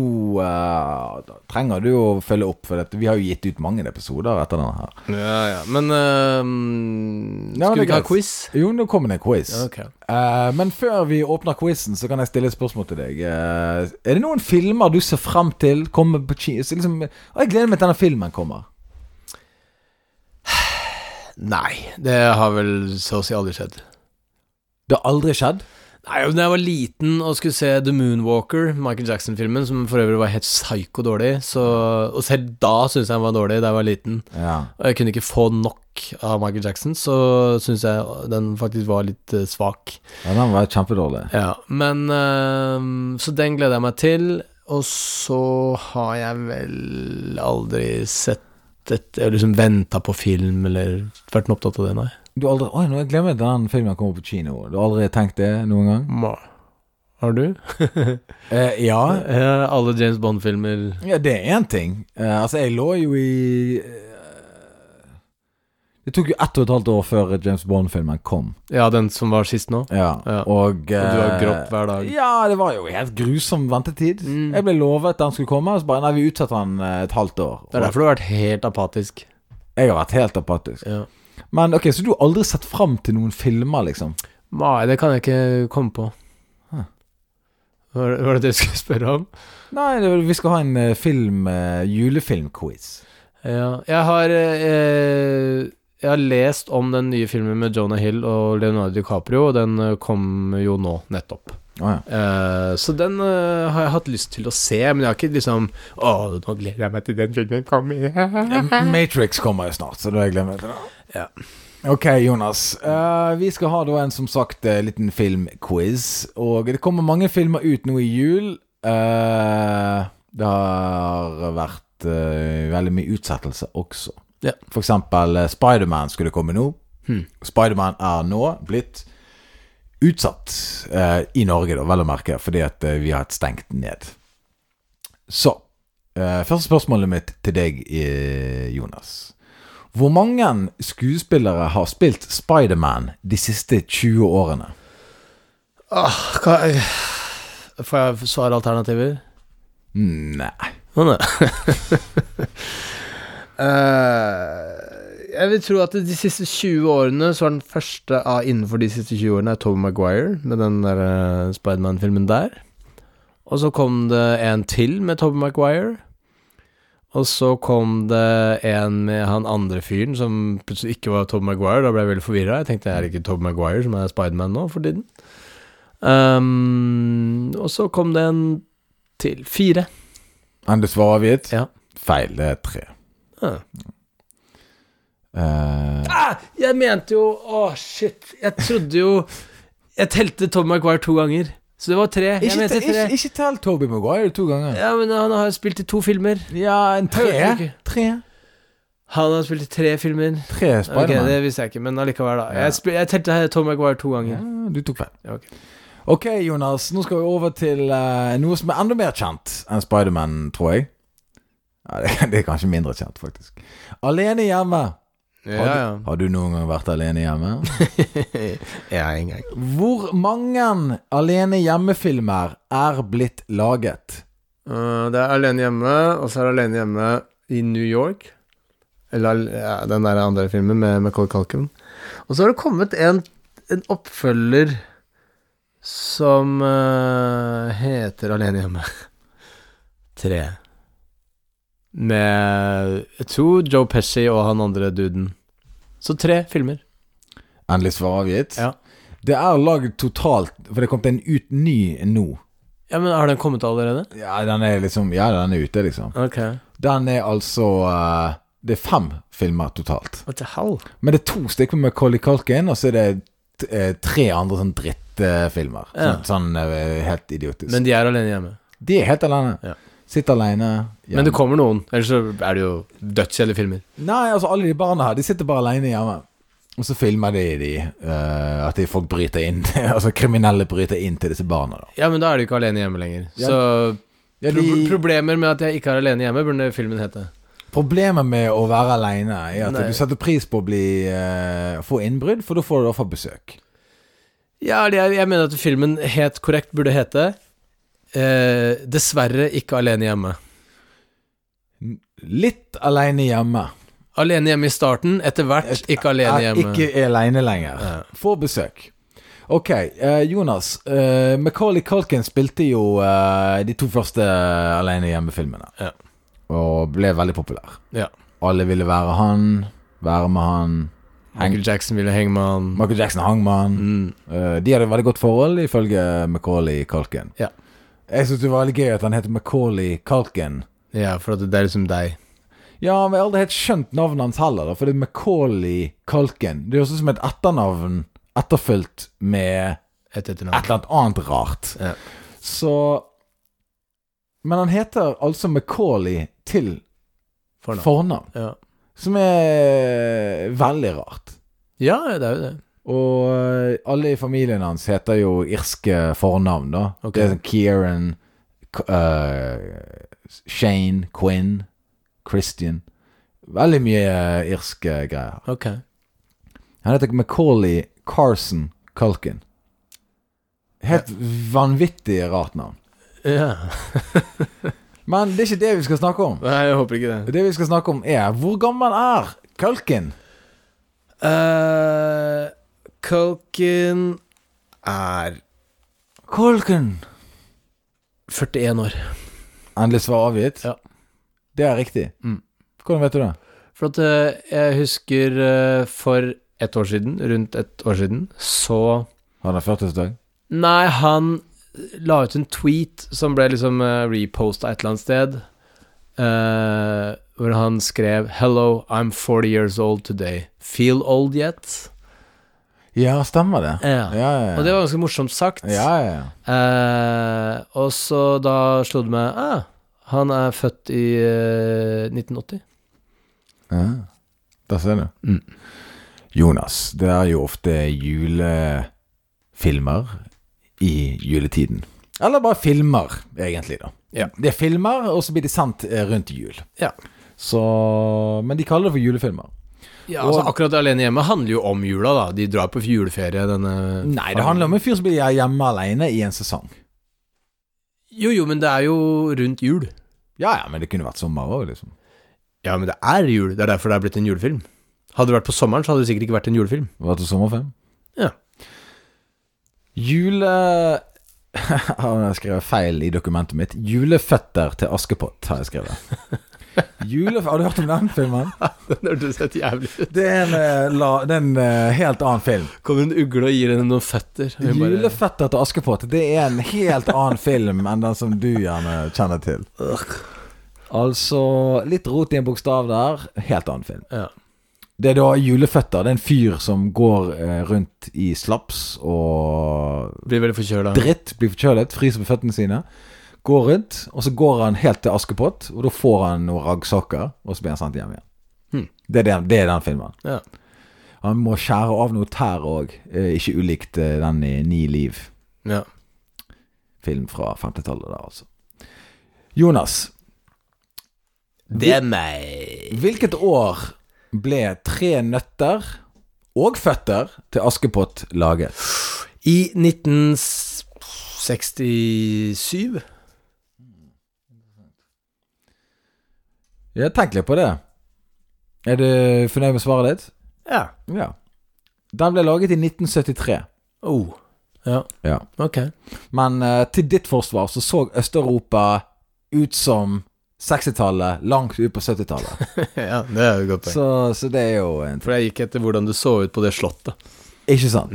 Speaker 2: eh, da trenger du å følge opp, for dette. vi har jo gitt ut mange episoder etter denne her.
Speaker 3: Ja, ja. Men eh,
Speaker 2: Ja, men
Speaker 3: Skulle vi
Speaker 2: det er
Speaker 3: ikke ha
Speaker 2: greit.
Speaker 3: quiz?
Speaker 2: Jo, nå kommer det en quiz.
Speaker 3: Ok.
Speaker 2: Eh, men før vi åpner quizen, så kan jeg stille et spørsmål til deg. Eh, er det noen filmer du ser frem til kommer på ki- så liksom, Å, Jeg gleder meg til denne filmen kommer.
Speaker 3: Nei, det har vel så å si aldri skjedd.
Speaker 2: Det har aldri skjedd.
Speaker 3: Nei, Da jeg var liten og skulle se The Moonwalker, Michael Jackson-filmen, som for øvrig var helt psyko dårlig, så, og selv da syntes jeg den var dårlig da jeg var liten,
Speaker 2: Ja.
Speaker 3: og jeg kunne ikke få nok av Michael Jackson, så syntes jeg den faktisk var litt eh, svak.
Speaker 2: Den var kjempedårlig.
Speaker 3: Ja, men eh, Så den gleder jeg meg til, og så har jeg vel aldri sett et Eller liksom venta på film, eller vært opptatt av det, nei.
Speaker 2: Du har aldri, Oi, nå jeg gleder meg til den filmen kommer på kino. Du har aldri tenkt det noen gang?
Speaker 3: Ma. Har du?
Speaker 2: Eh, ja.
Speaker 3: Eh, alle James Bond-filmer
Speaker 2: ja. Det er én ting. Eh, altså, jeg lå jo i eh, Det tok jo ett og et halvt år før James Bond-filmen kom.
Speaker 3: Ja, den som var sist nå?
Speaker 2: Ja,
Speaker 3: Ja.
Speaker 2: Og, eh, og
Speaker 3: Og du har grått hver dag.
Speaker 2: Ja, det var jo helt grusom ventetid.
Speaker 3: Mm.
Speaker 2: Jeg ble lovet den skulle komme, og så bare Nei, vi utsetter den eh, et halvt år.
Speaker 3: Det er
Speaker 2: Og
Speaker 3: derfor du har vært helt apatisk.
Speaker 2: jeg har vært helt apatisk.
Speaker 3: Ja.
Speaker 2: Men ok, Så du har aldri sett fram til noen filmer, liksom?
Speaker 3: Nei, det kan jeg ikke komme på.
Speaker 2: Hæ.
Speaker 3: Var det, var det det du skulle spørre om?
Speaker 2: Nei, det, vi skal ha en eh, film eh, julefilmquiz.
Speaker 3: Ja. Jeg har eh, Jeg har lest om den nye filmen med Jonah Hill og Leonardo DiCaprio, og den eh, kom jo nå, nettopp.
Speaker 2: Å ja.
Speaker 3: Eh, så den eh, har jeg hatt lyst til å se, men jeg har ikke liksom Å, nå gleder jeg meg til den filmen kommer.
Speaker 2: Ja, Matrix kommer jo snart, så da har jeg glemt det.
Speaker 3: Ja.
Speaker 2: Ok, Jonas. Eh, vi skal ha da en som sagt eh, liten filmquiz. Og det kommer mange filmer ut nå i jul. Eh, det har vært eh, veldig mye utsettelse også.
Speaker 3: Ja.
Speaker 2: For eksempel eh, Spiderman skulle komme nå.
Speaker 3: Hmm.
Speaker 2: Spiderman er nå blitt utsatt eh, i Norge, da, vel å merke, fordi at eh, vi har et stengt ned. Så eh, Første spørsmålet mitt til deg, eh, Jonas. Hvor mange skuespillere har spilt Spiderman de siste 20 årene?
Speaker 3: Åh, hva eh, Får jeg svaralternativer?
Speaker 2: Nei
Speaker 3: Å nei. Eh, jeg vil tro at de siste 20 årene så er den første av innenfor de siste 20 årene er Tobey Maguire med den der eh, Spiderman-filmen der. Og så kom det en til med Tobey Maguire. Og så kom det en med han andre fyren som plutselig ikke var Tobey Maguire. Da ble jeg veldig forvirra. Jeg tenkte er det ikke Tobey Maguire som er Spiderman nå for tiden? Ehm, og så kom det en til. Fire.
Speaker 2: Enn du svarer avgitt?
Speaker 3: Ja.
Speaker 2: Feil, det er tre.
Speaker 3: Ah.
Speaker 2: Eh,
Speaker 3: Ah, jeg mente jo Å, shit. Jeg trodde jo Jeg telte Tom McGuire to ganger. Så det var tre. Jeg
Speaker 2: ikke,
Speaker 3: mente
Speaker 2: te-
Speaker 3: tre.
Speaker 2: ikke, ikke tell Toby Maguire to ganger.
Speaker 3: Ja, men han har jo spilt i to filmer.
Speaker 2: Ja, en
Speaker 3: Hører du
Speaker 2: tre.
Speaker 3: ikke?
Speaker 2: tre.
Speaker 3: Han har spilt i tre filmer.
Speaker 2: Tre
Speaker 3: Ok,
Speaker 2: Spiderman.
Speaker 3: det visste jeg ikke, men allikevel, da.
Speaker 2: Ja.
Speaker 3: Jeg, spil, jeg telte her Tom Maguire to
Speaker 2: ja,
Speaker 3: ganger.
Speaker 2: du tok feil.
Speaker 3: Ja, ok.
Speaker 2: Ok, Jonas. Nå skal vi over til eh, noe som er enda mer kjent enn Spiderman, tror jeg. Ja, det, det er kanskje mindre kjent, faktisk. Alene hjemme. Har,
Speaker 3: Ja,
Speaker 2: Du, har du noen gang vært alene hjemme?
Speaker 3: ja. en gang.
Speaker 2: Hvor mange alene hjemme-filmer er blitt laget?
Speaker 3: Uh, det er Alene hjemme, og så er det Alene hjemme i New York. Eller al- ja, den der andre filmen med Macaulay Culkin. Og så har det kommet en, en oppfølger som uh, heter Alene hjemme. Tre. Med jeg tror Joe Pesci og han andre duden. Så tre filmer.
Speaker 2: Endelig svar avgitt?
Speaker 3: Ja.
Speaker 2: Det er laget totalt, for det kom til en ut ny nå.
Speaker 3: Ja, men Har den kommet allerede?
Speaker 2: Ja, den er liksom Ja, den er ute, liksom.
Speaker 3: Ok.
Speaker 2: Den er altså eh, Det er fem filmer totalt.
Speaker 3: What the hell?
Speaker 2: Men det er to stykker med Collie Culkin, og så er det t- eh, tre andre sånn drittfilmer.
Speaker 3: Ja.
Speaker 2: Sånn, sånn eh, helt idiotisk.
Speaker 3: Men de er alene hjemme.
Speaker 2: de er helt alene.
Speaker 3: Ja.
Speaker 2: Sitter alene. hjemme.
Speaker 3: Men det kommer noen, ellers så er det jo dødskjedelige filmer.
Speaker 2: Nei, altså alle de barna her, de sitter bare alene hjemme. Og så filmer de, de eh, at de folk bryter inn Altså kriminelle bryter inn til disse barna. da
Speaker 3: Ja, men da er du ikke alene hjemme lenger.
Speaker 2: Ja.
Speaker 3: Så
Speaker 2: ja,
Speaker 3: pro
Speaker 2: de,
Speaker 3: problemer med at jeg ikke er alene hjemme, burde filmen hete.
Speaker 2: Problemet med å være alene er at
Speaker 3: Nei.
Speaker 2: du setter pris på å bli eh, få innbrudd, for da får du iallfall besøk.
Speaker 3: Ja, eller jeg, jeg mener at filmen helt korrekt burde hete eh, Dessverre ikke alene hjemme.
Speaker 2: Litt alene hjemme.
Speaker 3: Alene hjemme i starten, etter hvert ikke alene
Speaker 2: Er
Speaker 3: hjemme.
Speaker 2: Ikke alene lenger.
Speaker 3: Ja.
Speaker 2: Får besøk. Ok, eh, Jonas. Uh, Macaulay Culkin spilte jo eh, de to første eh, Alene hjemme-filmene.
Speaker 3: Ja.
Speaker 2: Og ble veldig populær.
Speaker 3: Ja.
Speaker 2: Alle ville være han, være med han.
Speaker 3: Michael Jackson ville henge med han.
Speaker 2: Michael Jackson hang med han.
Speaker 3: Mm.
Speaker 2: Eh, de hadde et veldig godt forhold, ifølge Macaulay Culkin.
Speaker 3: Ja.
Speaker 2: Jeg syns det var veldig gøy at han heter Macaulay Culkin.
Speaker 3: Ja, for at det er liksom deg.
Speaker 2: Ja, men jeg har aldri helt skjønt navnet hans heller, da, for det er Macaulay Culkin. Det høres ut som et etternavn etterfulgt med
Speaker 3: Et
Speaker 2: et
Speaker 3: etternavn.
Speaker 2: eller annet annet rart.
Speaker 3: Ja.
Speaker 2: Så Men han heter altså Macaulay til
Speaker 3: Fornavn.
Speaker 2: fornavn,
Speaker 3: Ja.
Speaker 2: som er veldig rart.
Speaker 3: ja, det er jo det.
Speaker 2: Og eh, alle i familien hans heter jo irske fornavn, da.
Speaker 3: Ok.
Speaker 2: Det er sånn Kieran, K- eh, Shane, Quinn, Christian Veldig mye eh, irske greier.
Speaker 3: Ok.
Speaker 2: Han heter Macaulay Carson Culkin. Helt vanvittig rart navn.
Speaker 3: Ja.
Speaker 2: Men det er ikke det vi skal snakke om.
Speaker 3: Nei, jeg håper ikke det.
Speaker 2: Det vi skal snakke om, er hvor gammel er Kalken?
Speaker 3: Uh, Culkin er
Speaker 2: Kalken.
Speaker 3: 41 år.
Speaker 2: Endelig svar avgitt?
Speaker 3: Ja.
Speaker 2: Det er riktig.
Speaker 3: Mm.
Speaker 2: Hvordan vet du det?
Speaker 3: For at eh, jeg husker eh, for ett år siden, rundt ett år siden, så
Speaker 2: Har han 40-årsdag?
Speaker 3: Nei, han la ut en tweet som ble liksom uh, reposta et eller annet sted. eh, hvor han skrev 'Hello, I'm 40 years old today. Feel old yet?'
Speaker 2: Ja, stemmer det.
Speaker 3: Ja.
Speaker 2: Ja, ja, ja.
Speaker 3: Og det var ganske morsomt sagt.
Speaker 2: ja, ja, ja.
Speaker 3: Eh, og så da slo det meg ah, Han er født i eh, 1980.
Speaker 2: ja. Der ser du.
Speaker 3: Mm.
Speaker 2: Jonas, det er jo ofte julefilmer i juletiden. Eller bare filmer, egentlig, da.
Speaker 3: Ja.
Speaker 2: Det er filmer, og så blir de sendt eh, rundt jul.
Speaker 3: Ja.
Speaker 2: Så Men de kaller det for julefilmer.
Speaker 3: Ja,
Speaker 2: Og-
Speaker 3: altså Akkurat Alene hjemme handler jo om jula, da. De drar på juleferie, denne
Speaker 2: Nei, det handler om en fyr som blir hjemme alene i en sesong.
Speaker 3: Jo, jo, men det er jo rundt jul.
Speaker 2: Ja, ja, men det kunne vært sommer òg, liksom.
Speaker 3: Ja, men det er jul. Det er derfor det er blitt en julefilm. Hadde det vært på sommeren, så hadde det sikkert ikke vært en julefilm.
Speaker 2: Vært til sommerfilm.
Speaker 3: Ja.
Speaker 2: Jule... Har jeg skrevet feil i dokumentet mitt. 'Juleføtter til Askepott' har jeg skrevet. Julef... Har du hørt om den filmen?
Speaker 3: Den hørtes helt jævlig ut.
Speaker 2: Det er en, eh, la... det er en eh, helt annen film.
Speaker 3: Kommer en ugle og gir henne noen føtter. og hun bare-
Speaker 2: 'Juleføtter til Askepott' Det er en helt annen film enn den som du gjerne kjenner til. Altså Litt rot i en bokstav der. Helt annen film.
Speaker 3: Ja.
Speaker 2: Det er da juleføtter. Det er en fyr som går eh, rundt i slaps og
Speaker 3: Blir veldig forkjøla.
Speaker 2: dritt, blir forkjølet, fryser på føttene sine. Går rundt, og så går han helt til Askepott, og da får han noen raggsokker, og så blir han sendt hjem igjen.
Speaker 3: Hmm.
Speaker 2: Det er den, det er den filmen.
Speaker 3: Ja.
Speaker 2: Han må skjære av noe tær òg, ikke ulikt eh, den i Ni liv.
Speaker 3: ja.
Speaker 2: Film fra 50-tallet der, altså. Jonas,
Speaker 3: Det er meg.
Speaker 2: hvilket år ble Tre nøtter og føtter til Askepott laget?
Speaker 3: I 1967
Speaker 2: Ja, tenk litt på det. Er du fornøyd med svaret ditt?
Speaker 3: Ja.
Speaker 2: Ja. Den ble laget i 1973.
Speaker 3: Oh. Ja,
Speaker 2: Ja.
Speaker 3: ok.
Speaker 2: Men eh, til ditt forsvar så så Øst-Europa ut som 60-tallet langt ut på 70-tallet.
Speaker 3: ja, det er jo et godt poeng.
Speaker 2: Så, så det er jo en
Speaker 3: For jeg gikk etter hvordan du så ut på det slottet.
Speaker 2: Ikke sant?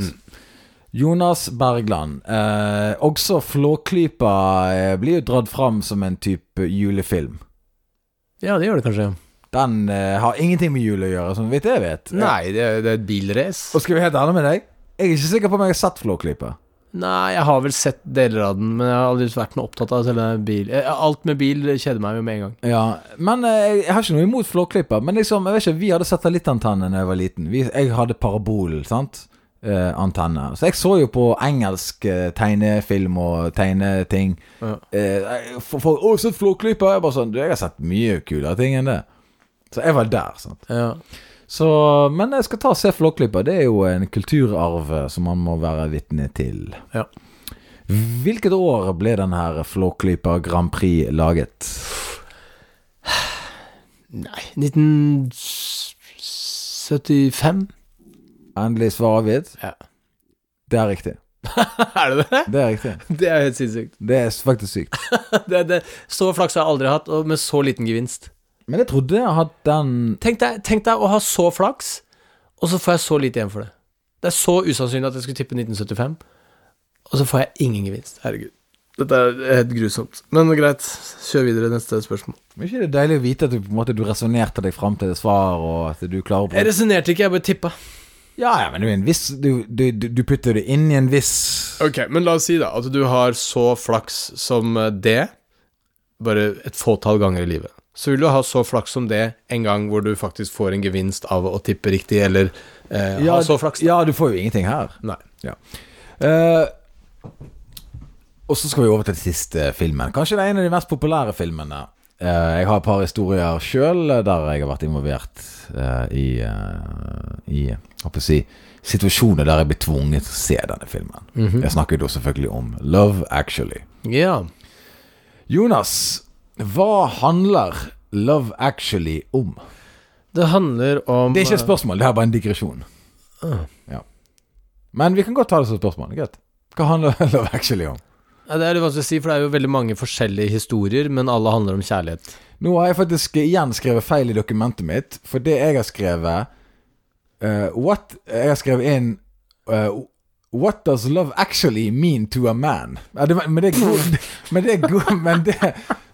Speaker 2: Jonas Bergland. Eh, også Flåklypa eh, blir jo dratt fram som en type julefilm.
Speaker 3: Ja, det gjør det kanskje.
Speaker 2: Den eh, har ingenting med jul å gjøre, som vidt jeg vet. Eh,
Speaker 3: Nei, det er, det er et bilrace.
Speaker 2: Og skal vi være helt ærlig med deg, jeg er ikke sikker på om jeg har sett Flåklypa.
Speaker 3: Nei, jeg har vel sett deler av den, men jeg har aldri vært noe opptatt av selve bil. eh, Alt med bil kjeder meg jo med en gang.
Speaker 2: Ja, men eh, jeg, jeg har ikke noe imot Flåklypa. Men liksom, jeg vet ikke, vi hadde satellittantenne da jeg var liten. Vi, jeg hadde parabol, sant? Eh, antenne. Så jeg så jo på engelsk eh, tegnefilm og tegneting.
Speaker 3: Ja.
Speaker 2: Eh, for, for, å, sett Flåklypa! Jeg bare sånn, du, jeg har sett mye kulere ting enn det. Så jeg var der, sant.
Speaker 3: Ja.
Speaker 2: Så, men jeg skal ta og se Flåklypa. Det er jo en kulturarv eh, som man må være vitne til.
Speaker 3: Ja.
Speaker 2: Hvilket år ble den her Flåklypa Grand Prix laget?
Speaker 3: Nei, 1975?
Speaker 2: Endelig svar avgitt.
Speaker 3: Ja.
Speaker 2: Det er riktig.
Speaker 3: er det det?
Speaker 2: Det er riktig.
Speaker 3: Det er helt sinnssykt.
Speaker 2: Det er faktisk sykt.
Speaker 3: Det, det, så flaks har jeg aldri hatt, og med så liten gevinst.
Speaker 2: Men jeg trodde jeg hadde den
Speaker 3: Tenk deg, tenk deg å ha så flaks, og så får jeg så lite igjen for det. Det er så usannsynlig at jeg skulle tippe 1975, og så får jeg ingen gevinst. Herregud. Dette er helt grusomt. Men greit, kjør videre neste spørsmål.
Speaker 2: Men ikke det er deilig å vite at du på en måte Du resonnerte deg fram til et svar, og at du klarer å
Speaker 3: Jeg resonnerte ikke, jeg bare tippa.
Speaker 2: Ja, ja, men du, er en viss, du, du, du du putter det inn i en viss
Speaker 3: Ok, men la oss si da at du har så flaks som eh, det, bare et fåtall ganger i livet. Så vil du ha så flaks som det en gang hvor du faktisk får en gevinst av å tippe riktig, eller eh,
Speaker 2: ja,
Speaker 3: ha så flaks.
Speaker 2: ja, du får jo ingenting her.
Speaker 3: Nei.
Speaker 2: Eh, og så skal vi over til den siste filmen. Kanskje det er en av de mest populære filmene. Eh, jeg har et par historier sjøl der jeg har vært involvert eh, i, eh, i jeg håper å si, situasjoner der jeg blir tvunget til å se denne filmen. Jeg snakker jo da selvfølgelig om Love Actually.
Speaker 3: Ja.
Speaker 2: Jonas, hva handler Love Actually om?
Speaker 3: Det handler om
Speaker 2: Det er ikke et spørsmål, det er bare en digresjon.
Speaker 3: Ah.
Speaker 2: Ja. Men vi kan godt ta det som et spørsmål. Greit. Hva handler Love Actually om?
Speaker 3: eh, Ja, det er litt vanskelig å si, for det er jo veldig mange forskjellige historier, men alle handler om kjærlighet.
Speaker 2: Nå har jeg faktisk igjen skrevet feil i dokumentet mitt, for det jeg har skrevet eh, What Jeg har skrevet inn eh, What does love actually mean to a man? Ja, det, men, det er Google, men, det er Go- men, det,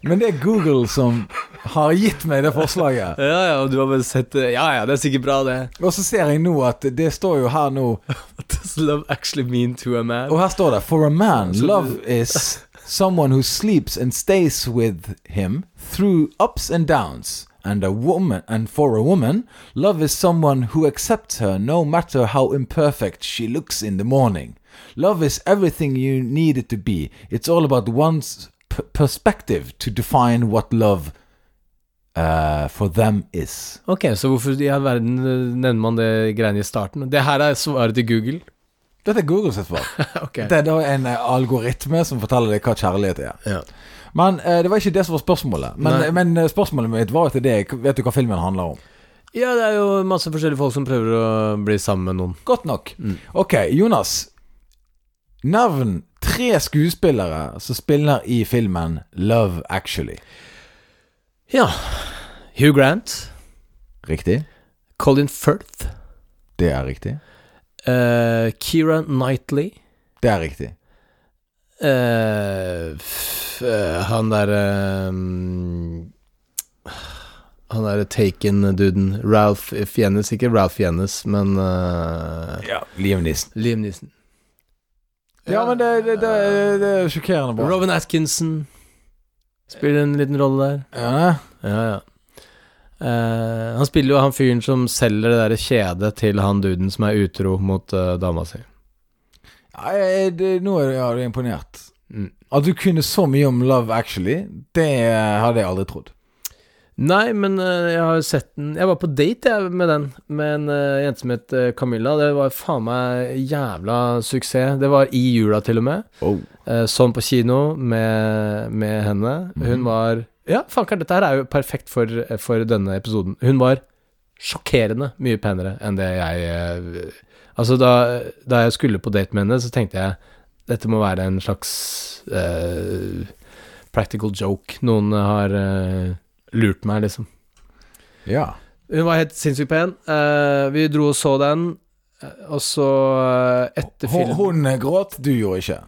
Speaker 2: men det er Google som har gitt meg det forslaget.
Speaker 3: Ja, ja, og du har bare sett det. Ja, ja, det er sikkert bra, det.
Speaker 2: Og så ser jeg nå at det står jo her nå
Speaker 3: What does love actually mean to a man?
Speaker 2: Og her står det For a man, love is someone who sleeps and stays with him through ups and downs. And a woman and for a woman, love is someone who accepts her no matter how imperfect she looks in the morning. Love is everything you need it to be. It's all about one's p- perspective to define what love uh, for them is.
Speaker 3: Ok, så hvorfor i all verden eh, nevner man det greiene i starten? Det her er svaret til Google.
Speaker 2: Dette er Google sitt svar.
Speaker 3: ok.
Speaker 2: Det er da en eh, algoritme som forteller deg hva kjærlighet er.
Speaker 3: Ja.
Speaker 2: Men eh, det var ikke det som var spørsmålet. Men,
Speaker 3: Nei.
Speaker 2: men eh, spørsmålet mitt var til deg. Vet du hva filmen handler om?
Speaker 3: ja, det er jo masse forskjellige folk som prøver å bli sammen med noen.
Speaker 2: Godt nok. Ok, Jonas. Nevn tre skuespillere som spiller i filmen Love Actually.
Speaker 3: Ja. Hugh Grant,
Speaker 2: Riktig?
Speaker 3: Colin Firth,
Speaker 2: Det er riktig.
Speaker 3: eh, Keira Knightley,
Speaker 2: Det er riktig.
Speaker 3: Eh, f- eh, han der ehm, Han der Taken-duden. Ralph Fiennes, ikke Ralph Fiennes, men eh,
Speaker 2: Ja, Liam Neeson.
Speaker 3: Liam Neeson.
Speaker 2: Ja, men det, det, det, det er sjokkerende bra.
Speaker 3: Robin Atkinson spiller en liten rolle der.
Speaker 2: Ja,
Speaker 3: Ja, ja. Eh, han spiller jo han fyren som selger det der kjedet til han duden som er utro mot eh, dama si.
Speaker 2: Ja, jeg- eh, det, nå er ja, du er imponert.
Speaker 3: Mm.
Speaker 2: At du kunne så mye om Love Actually, det eh, hadde jeg aldri trodd.
Speaker 3: Nei, men eh, jeg har jo sett den Jeg var på date jeg, med den, med en eh, jente som het eh, Camilla. Det var faen meg jævla suksess. Det var i jula, til og med. Eh, sånn på kino med, med henne. Hun
Speaker 2: Mhm.
Speaker 3: var Ja, fanker, dette her er jo perfekt for, for denne episoden. Hun var sjokkerende mye penere enn det jeg eh, Altså, da, da jeg skulle på date med henne, så tenkte jeg dette må være en slags eh, practical joke. Noen har eh, lurt meg, liksom.
Speaker 2: Ja.
Speaker 3: Hun var helt sinnssykt pen. Eh, vi dro og så den, eh, og så eh,
Speaker 2: Hun,
Speaker 3: etter film
Speaker 2: hun gråt, du gjorde ikke.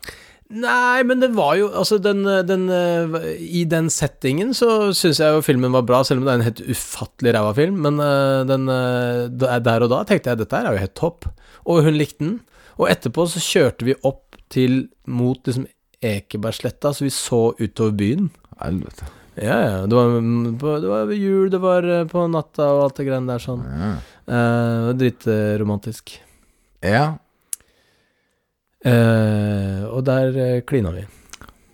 Speaker 3: Nei, men det var jo Altså, den, den eh, I den settingen så syns jeg jo filmen var bra, selv om det er en helt ufattelig ræva film. Men eh, den eh, da- Der og da tenkte jeg dette her er jo helt topp. Og hun likte den. Og etterpå så kjørte vi opp til mot liksom Ekebergsletta, så vi så utover byen.
Speaker 2: Helvete.
Speaker 3: Ja, ja. Det var, mm, på, det var ved jul, det var eh, på natta og alt det greiene der sånn.
Speaker 2: Ja.
Speaker 3: Eh, det var Dritromantisk.
Speaker 2: ja.
Speaker 3: Eh, og der eh, klina vi.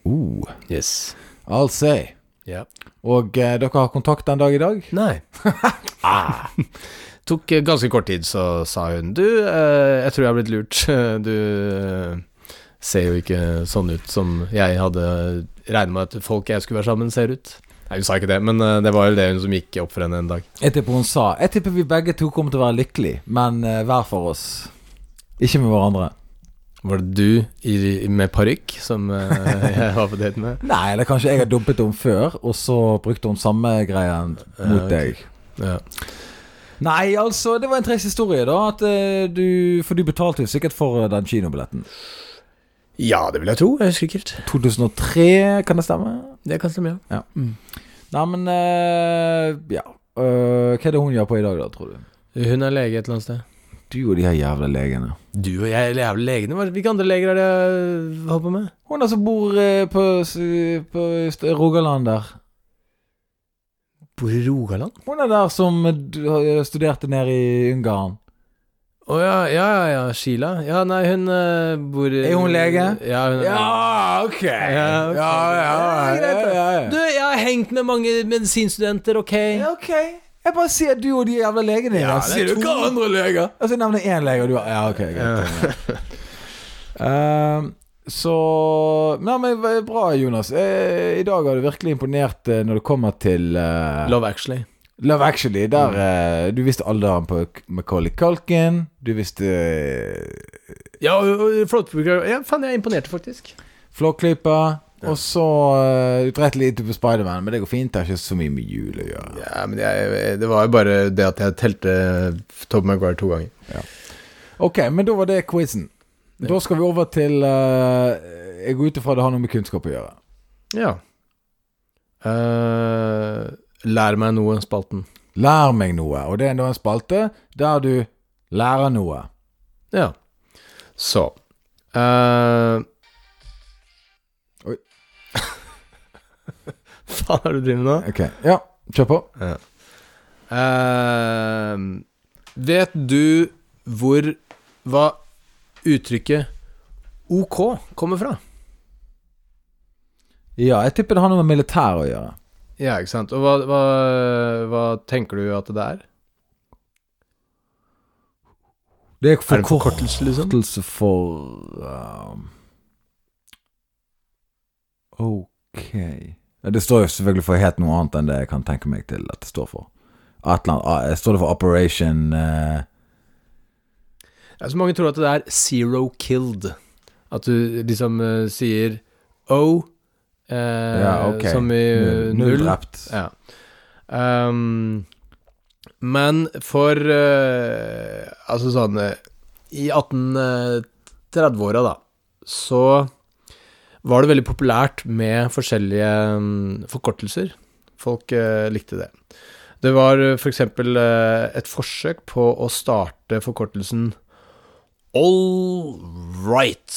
Speaker 2: Uh,
Speaker 3: Yes.
Speaker 2: I'll say.
Speaker 3: Ja.
Speaker 2: Og eh, dere har kontakt den dag i dag?
Speaker 3: Nei. ah. Tok eh, ganske kort tid, så sa hun Du, eh, jeg tror jeg har blitt lurt. Du eh, ser jo ikke sånn ut som jeg hadde regnet med at folk jeg skulle være sammen, ser ut. Nei, hun sa ikke det, men eh, det var jo det hun som gikk opp for henne en dag.
Speaker 2: Jeg tipper hun sa Jeg tipper vi begge to kommer til å være lykkelige, men eh, hver for oss. Ikke med hverandre.
Speaker 3: Var det du i, med parykk som eh, jeg var på date med?
Speaker 2: Nei, eller kanskje jeg har dumpet henne før, og så brukte hun samme greien mot
Speaker 3: Ja, ok.
Speaker 2: deg.
Speaker 3: Ja.
Speaker 2: Nei, altså, det var en trist historie, da. At, eh, du, for du betalte jo sikkert for eh, den kinobilletten.
Speaker 3: ja, det vil jeg tro. Jeg husker ikke helt.
Speaker 2: 2003, kan det stemme?
Speaker 3: Det kan stemme, ja.
Speaker 2: Nei, men eh, Ja. Eh, hva er det hun gjør på i dag, da, tror du?
Speaker 3: Hun er lege et eller annet sted.
Speaker 2: Du og de her jævla legene.
Speaker 3: Du og jeg er jævla legene. Hva- Hvilke andre leger er det jeg holder på med?
Speaker 2: Hun altså bor eh, på, s- på st- Rogaland der.
Speaker 3: Bor i Rogaland?
Speaker 2: Hun er der som eh, du- eh, studerte nede i Ungarn.
Speaker 3: Å ja, ja, ja, ja, Sheila. Ja, nei, hun eh, bor i-
Speaker 2: Er hun lege?
Speaker 3: Ja, hun er
Speaker 2: ok!
Speaker 3: Ja, ok. Ja, greit, da. Du, jeg har hengt med mange medisinstudenter, ok?
Speaker 2: Ja, ok. Jeg bare sier du og de jævla legene dine.
Speaker 3: Ja, det er
Speaker 2: sier du
Speaker 3: to.
Speaker 2: hva andre leger? Og så nevner Altså, jeg én lege, og du bare Ja, ok, greit. Ehm, så Nei, men det er bra, Jonas. Eh, I dag har du virkelig imponert eh, når det kommer til eh,
Speaker 3: Love Actually.
Speaker 2: Love Actually, der eh, Du visste alderen på K- Macaulay Culkin. Du visste uh,
Speaker 3: Ja, og- og flåttbruker Ja, faen, jeg imponerte faktisk.
Speaker 2: Flåklypa. Og så eh, Du dreit litt på Spiderman, men det går fint. Det har ikke så mye med jul å gjøre.
Speaker 3: Ja, men jeg, det var jo bare det at jeg telte Tob Maguire to ganger.
Speaker 2: Ok, men da var det quizen. Da skal vi over til eh, Jeg går ut ifra det har noe med kunnskap å gjøre.
Speaker 3: Ja. Eh, lær meg noe, spalten.
Speaker 2: Lær meg noe. Og det er da en spalte der du lærer noe.
Speaker 3: Ja. Så eh,
Speaker 2: Oi.
Speaker 3: Faen, er det du driver med nå?
Speaker 2: Ok, ja. Kjør på.
Speaker 3: Eh, vet du hvor Hva uttrykket OK kommer fra?
Speaker 2: Ja, jeg tipper det har noe med militæret å gjøre.
Speaker 3: Ja, ikke sant. Og hva, hva, hva tenker du at det er?
Speaker 2: Det er
Speaker 3: er det en forkortelse, liksom?
Speaker 2: forkortelse for um, Ok Ja, Det står jo selvfølgelig for helt noe annet enn det jeg kan tenke meg til at det står for. Atlan, ah, står det for Operation eh,
Speaker 3: Ja, så mange tror at det er zero killed. At du liksom eh, sier O, eh,
Speaker 2: Ja, ok.
Speaker 3: som i eh,
Speaker 2: Null
Speaker 3: null
Speaker 2: drept.
Speaker 3: Ja. Ehm, men for eh, Altså sånn eh, I 1830-åra, da, så var det veldig populært med forskjellige mm, forkortelser. Folk eh, likte det. Det var eh, for eksempel eh, et forsøk på å starte forkortelsen All right,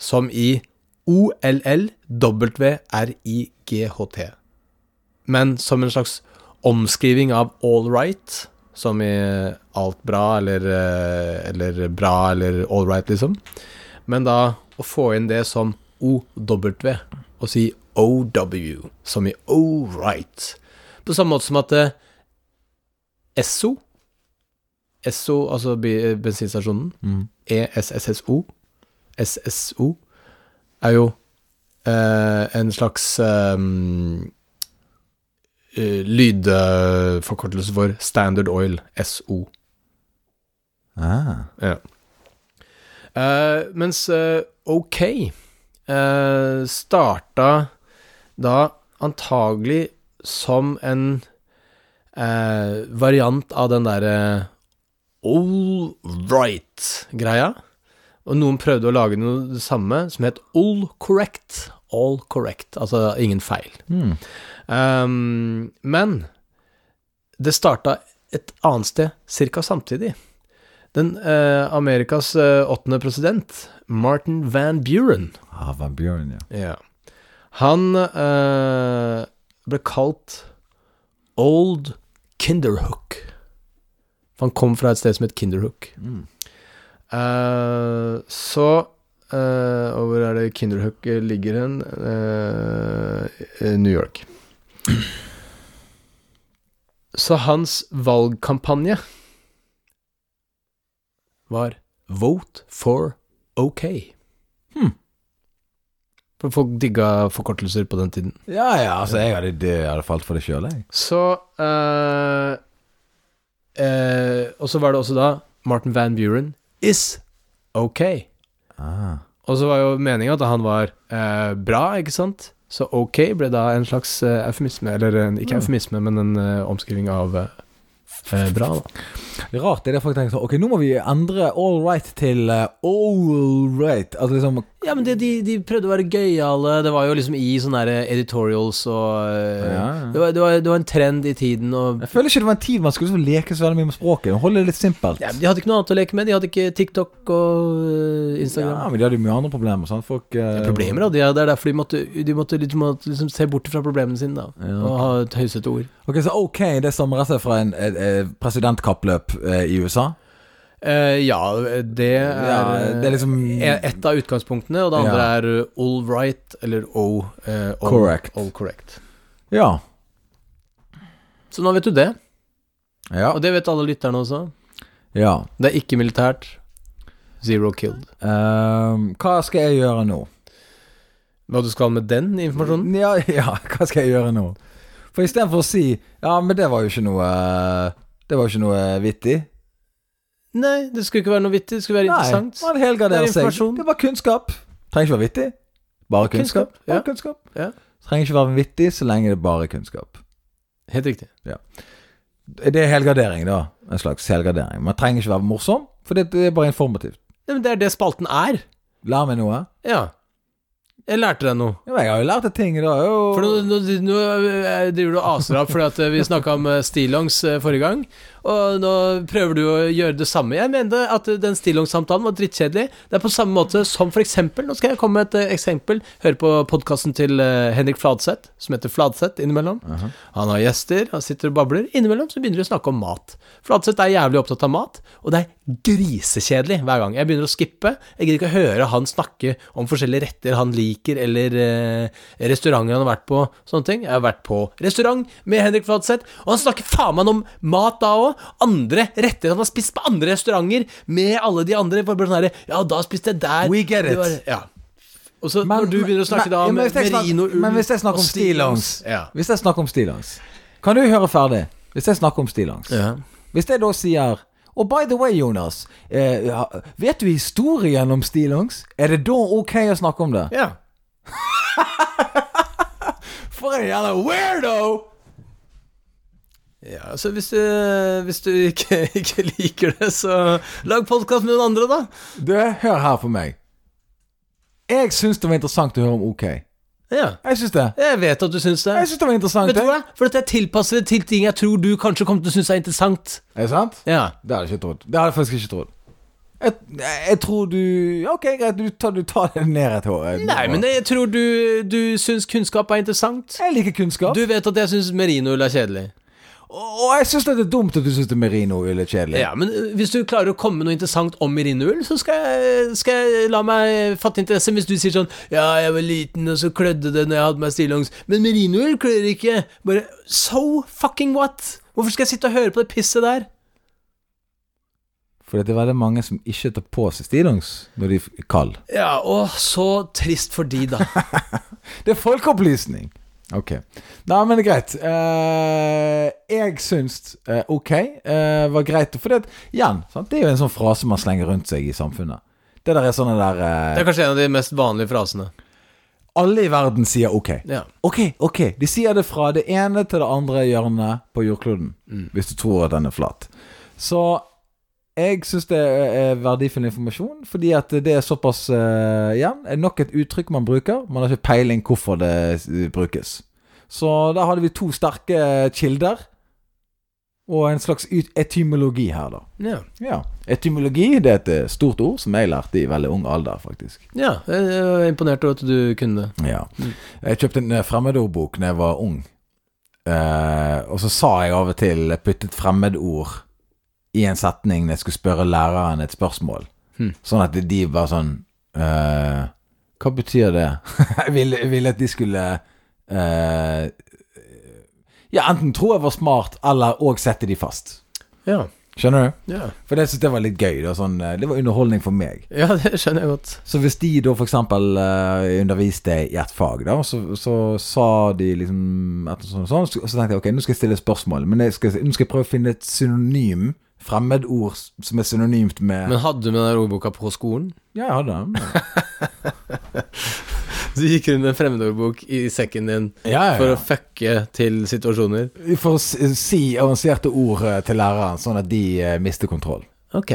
Speaker 3: som i O-L-L-W-R-I-G-H-T men som en slags omskriving av all right, som i alt bra eller, eh, eller bra eller all right, liksom. Men da å få inn det som OW og si OW, som i all right. På samme måte som at eh, Esso Esso, altså bi- bensinstasjonen, E
Speaker 2: Mm.
Speaker 3: ESSSO, SSO, er jo eh, en slags eh, eh, lydforkortelse for Standard Oil, SO.
Speaker 2: Ah.
Speaker 3: Eh, mens eh, OK eh, starta da antagelig som en eh, variant av den derre all right-greia. Og noen prøvde å lage noe det samme som het all correct. All correct, altså ingen feil.
Speaker 2: Mm.
Speaker 3: Ehm, men det starta et annet sted ca. samtidig. Den eh, Amerikas eh, åttende president, Martin Van Buren
Speaker 2: Ah, Van Buren, ja.
Speaker 3: Han eh, ble kalt Old Kinderhook. For han kom fra et sted som het Kinderhook.
Speaker 2: Mm.
Speaker 3: Eh, så eh, Og hvor er det Kinderhook ligger hen? Eh, i New York. Så hans valgkampanje var Vote for OK.
Speaker 2: Hmm.
Speaker 3: For folk digga forkortelser på den tiden.
Speaker 2: Ja ja, altså, jeg hadde, det, jeg hadde falt for det sjøl, jeg.
Speaker 3: Så eh, eh, Og så var det også da Martin Van Buren is OK.
Speaker 2: Ah.
Speaker 3: Og så var jo meninga at han var eh, bra, ikke sant? Så OK ble da en slags eh, eufemisme, eller en, ikke
Speaker 2: Mm.
Speaker 3: eufemisme, men en eh, omskriving av eh, eh, bra, da.
Speaker 2: Det er Rart det er folk tenker sånn Ok, nå må vi endre all right til eh, all right. Altså liksom
Speaker 3: Ja, men de, prøvde å være gøyale. Det var jo liksom i sånne editorials og eh,
Speaker 2: Ja, ja.
Speaker 3: det, var, en trend i tiden. Og,
Speaker 2: eh, Jeg føler ikke det var en tid man skulle liksom leke så veldig mye med språket. Holde det litt simpelt.
Speaker 3: de hadde ikke noe annet å leke med. De hadde ikke TikTok og eh, Instagram.
Speaker 2: Ja, men de hadde jo mye andre problemer. Sant? Folk eh,
Speaker 3: Ja, problemer hadde de, ja. det er derfor de måtte, de måtte, litt- måtte liksom se bort fra problemene sine, da.
Speaker 2: Ja.
Speaker 3: Og ha et høysete ord.
Speaker 2: Ok, så ok, det stammer rett og slett fra en eh, eh, presidentkappløp eh, i USA.
Speaker 3: Eh, ja, det er,
Speaker 2: Ja, det er liksom
Speaker 3: eh, ett av utgangspunktene, og det andre
Speaker 2: Ja.
Speaker 3: er eh, all right, eller O. eh, all,
Speaker 2: Correct.
Speaker 3: All correct.
Speaker 2: Ja.
Speaker 3: Så nå vet du det,
Speaker 2: Ja.
Speaker 3: og det vet alle lytterne også.
Speaker 2: ja.
Speaker 3: Det er ikke militært. Zero killed.
Speaker 2: Ehm, hva skal jeg gjøre nå?
Speaker 3: Hva du skal med den informasjonen?
Speaker 2: Ja, ja, hva skal jeg gjøre nå? For istedenfor å si Ja, men det var jo ikke noe eh, Det var jo ikke noe eh, vittig.
Speaker 3: Nei, det skulle ikke være noe vittig, det skulle være interessant.
Speaker 2: man helgarderer
Speaker 3: Det er
Speaker 2: seg.
Speaker 3: informasjon.
Speaker 2: Det var kunnskap. Trenger ikke være vittig. Bare kunnskap.
Speaker 3: Kunnskap, ja.
Speaker 2: Bare kunnskap.
Speaker 3: Ja.
Speaker 2: Trenger ikke være vittig så lenge det er bare kunnskap.
Speaker 3: Helt riktig.
Speaker 2: Det er helgardering, da. En slags helgardering. Man trenger ikke være morsom, for det det er bare informativt.
Speaker 3: Nei, men det er det spalten er.
Speaker 2: Lær meg noe.
Speaker 3: Ja. Jeg lærte deg noe.
Speaker 2: Ja, men jeg har jo lært et ting i dag. jo.
Speaker 3: For nå, nå, nå eh, driver du og aser av fordi at eh, vi snakka om eh, stillongs eh, forrige gang, og nå prøver du å gjøre det samme. Jeg mente at eh, den stillongs-samtalen var drittkjedelig. Det er på samme måte som for eksempel Nå skal jeg komme med et eh, eksempel. Hør på podkasten til eh, Henrik Fladseth, som heter Fladseth innimellom.
Speaker 2: Aha.
Speaker 3: Han har gjester, han sitter og babler. Innimellom så begynner de å snakke om mat. Fladseth er jævlig opptatt av mat, og det er grisekjedelig hver gang. Jeg begynner å skippe. Jeg gidder ikke å høre han snakke om forskjellige retter han liker, eller eh, restauranter han har vært på, sånne ting. Jeg har vært på restaurant med Henrik Fladseth, og han snakker faen meg om mat da òg. Andre retter han har spist på andre restauranter med alle de andre. Bare sånn herre Ja, da spiste jeg der.
Speaker 2: We get
Speaker 3: Det
Speaker 2: it.
Speaker 3: var- ja. Og så
Speaker 2: Men-
Speaker 3: når du begynner å snakke
Speaker 2: men-
Speaker 3: da
Speaker 2: ja,
Speaker 3: om
Speaker 2: men hvis jeg snakker-
Speaker 3: merinoull
Speaker 2: Men hvis jeg
Speaker 3: og
Speaker 2: snakker om stillongs
Speaker 3: Ja.
Speaker 2: Hvis jeg snakker om stillongs Kan du høre ferdig? Hvis jeg snakker om stillongs
Speaker 3: ja.
Speaker 2: Hvis jeg da sier og by the way, Jonas, eh, ja, vet du historien om stillongs? Er det da ok å snakke om det?
Speaker 3: ja.
Speaker 2: For en jævla weirdo!
Speaker 3: Ja, altså hvis du, hvis du ikke, ikke liker det, så lag podkast med noen andre, da.
Speaker 2: Du, hør her på meg. Jeg syns det var interessant å høre om OK.
Speaker 3: Ja,
Speaker 2: Jeg syns det.
Speaker 3: jeg vet at du syns det.
Speaker 2: Jeg syns det var interessant.
Speaker 3: Vet du
Speaker 2: jeg.
Speaker 3: hva? For at jeg tilpasser det til ting jeg tror du kanskje kommer til å synes er interessant.
Speaker 2: Er det sant?
Speaker 3: Ja.
Speaker 2: Det hadde jeg ikke trodd. Det hadde jeg faktisk ikke trodd. Jeg, jeg tror du ja, Ok, greit, du tar, du tar det ned et hår.
Speaker 3: Nei, men jeg tror du, du syns kunnskap er interessant.
Speaker 2: Jeg liker kunnskap.
Speaker 3: Du vet at jeg syns merinoel er kjedelig.
Speaker 2: Og og jeg syns det er dumt at du syns merinoull er kjedelig.
Speaker 3: Ja, men eh, hvis du klarer å komme med noe interessant om merinoull, så skal jeg, skal jeg la meg fatte interesse. Hvis du sier sånn Ja, jeg var liten, og så klødde det når jeg hadde meg stillongs, men merinoull klør ikke. Bare so fucking what? Hvorfor skal jeg sitte og høre på det pisset der?
Speaker 2: For det er veldig mange som ikke tar på seg stillongs når de er kalde.
Speaker 3: Ja, åh, så trist for de, da.
Speaker 2: Det er folkeopplysning! Ok. Nei, men det er greit. Eh, jeg syns eh, ok eh, var greit. For det, igjen, sant? det er jo en sånn frase man slenger rundt seg i samfunnet. Det der er sånne der eh,
Speaker 3: Det er kanskje en av de mest vanlige frasene.
Speaker 2: Alle i verden sier ok.
Speaker 3: Ja.
Speaker 2: Ok, ok. De sier det fra det ene til det andre hjørnet på jordkloden. Hvis du tror at den er flat. Så jeg syns det er verdifull informasjon, fordi at det er såpass eh, Igjen, er nok et uttrykk man bruker. Man har ikke peiling hvorfor det eh, brukes. Så der hadde vi to sterke kilder. Og en slags ut- etymologi her, da.
Speaker 3: Ja.
Speaker 2: Ja. Etymologi det er et eh, stort ord som jeg lærte i veldig ung alder, faktisk.
Speaker 3: ja. Jeg var imponert over at du kunne det.
Speaker 2: Ja. Jeg kjøpte en eh, fremmedordbok da jeg var ung. Eh, og så sa jeg av og til jeg puttet fremmedord i en setning når jeg skulle spørre læreren et spørsmål.
Speaker 3: Hmm.
Speaker 2: Sånn at de var sånn eh, Hva betyr det? jeg ville, jeg ville at de skulle eh, Ja, enten tro jeg var smart, eller òg sette de fast.
Speaker 3: Ja.
Speaker 2: Skjønner du?
Speaker 3: Ja.
Speaker 2: For det syntes jeg var litt gøy. Da, sånn, eh, det var underholdning for meg.
Speaker 3: ja, det skjønner jeg godt.
Speaker 2: Så hvis de da f.eks. Uh, underviste i et fag, da, så, så sa de liksom et sånt, sånn, så så tenkte jeg ok, nå skal jeg stille et spørsmål, men jeg skal, nå skal jeg prøve å finne et synonym. Fremmedord som er synonymt med
Speaker 3: Men hadde du med den der ordboka på skolen?
Speaker 2: Ja, jeg hadde den.
Speaker 3: Du gikk rundt med en fremmedordbok i sekken din
Speaker 2: Ja, ja,
Speaker 3: for
Speaker 2: ja.
Speaker 3: å fucke til situasjoner?
Speaker 2: For å s- si avanserte ord eh, til læreren, sånn at de eh, mister kontroll.
Speaker 3: Ok.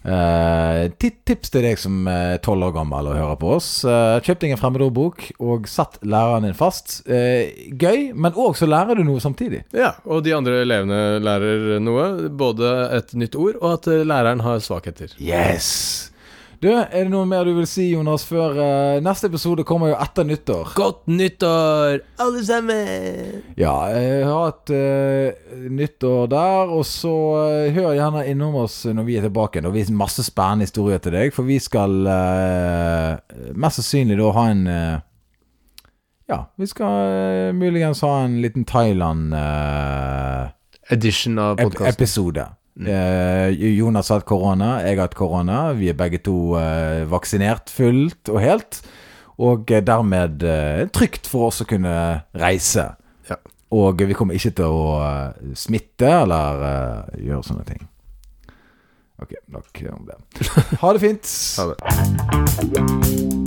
Speaker 2: Eh, ti- tips til deg som er tolv år gammel og hører på oss. Eh, kjøp deg en fremmedordbok, og sett læreren din fast. Eh, gøy, men òg så lærer du noe samtidig.
Speaker 3: Ja, og de andre elevene lærer noe, både et nytt ord og at eh, læreren har svakheter.
Speaker 2: Yes! Du, er det noe mer du vil si, Jonas, før eh, neste episode kommer jo etter nyttår?
Speaker 3: Godt nyttår, alle sammen!
Speaker 2: Ja, jeg har et eh, nyttår der, og så eh, hør gjerne innom oss når vi er tilbake. Når vi har masse spennende historier til deg, for vi skal eh, mest sannsynlig da ha en eh, Ja, vi skal eh, muligens ha en liten Thailand eh,
Speaker 3: Edition av
Speaker 2: Ep-
Speaker 3: podkasten.
Speaker 2: Episode. Eh, Jonas har hatt korona, jeg har hatt korona. Vi er begge to eh, vaksinert fullt og helt. Og eh, dermed eh, trygt for oss å kunne reise.
Speaker 3: Ja.
Speaker 2: Og vi kommer ikke til å eh, smitte eller eh, gjøre sånne ting. Ok, nok om det. Ha det fint.
Speaker 3: Ha det.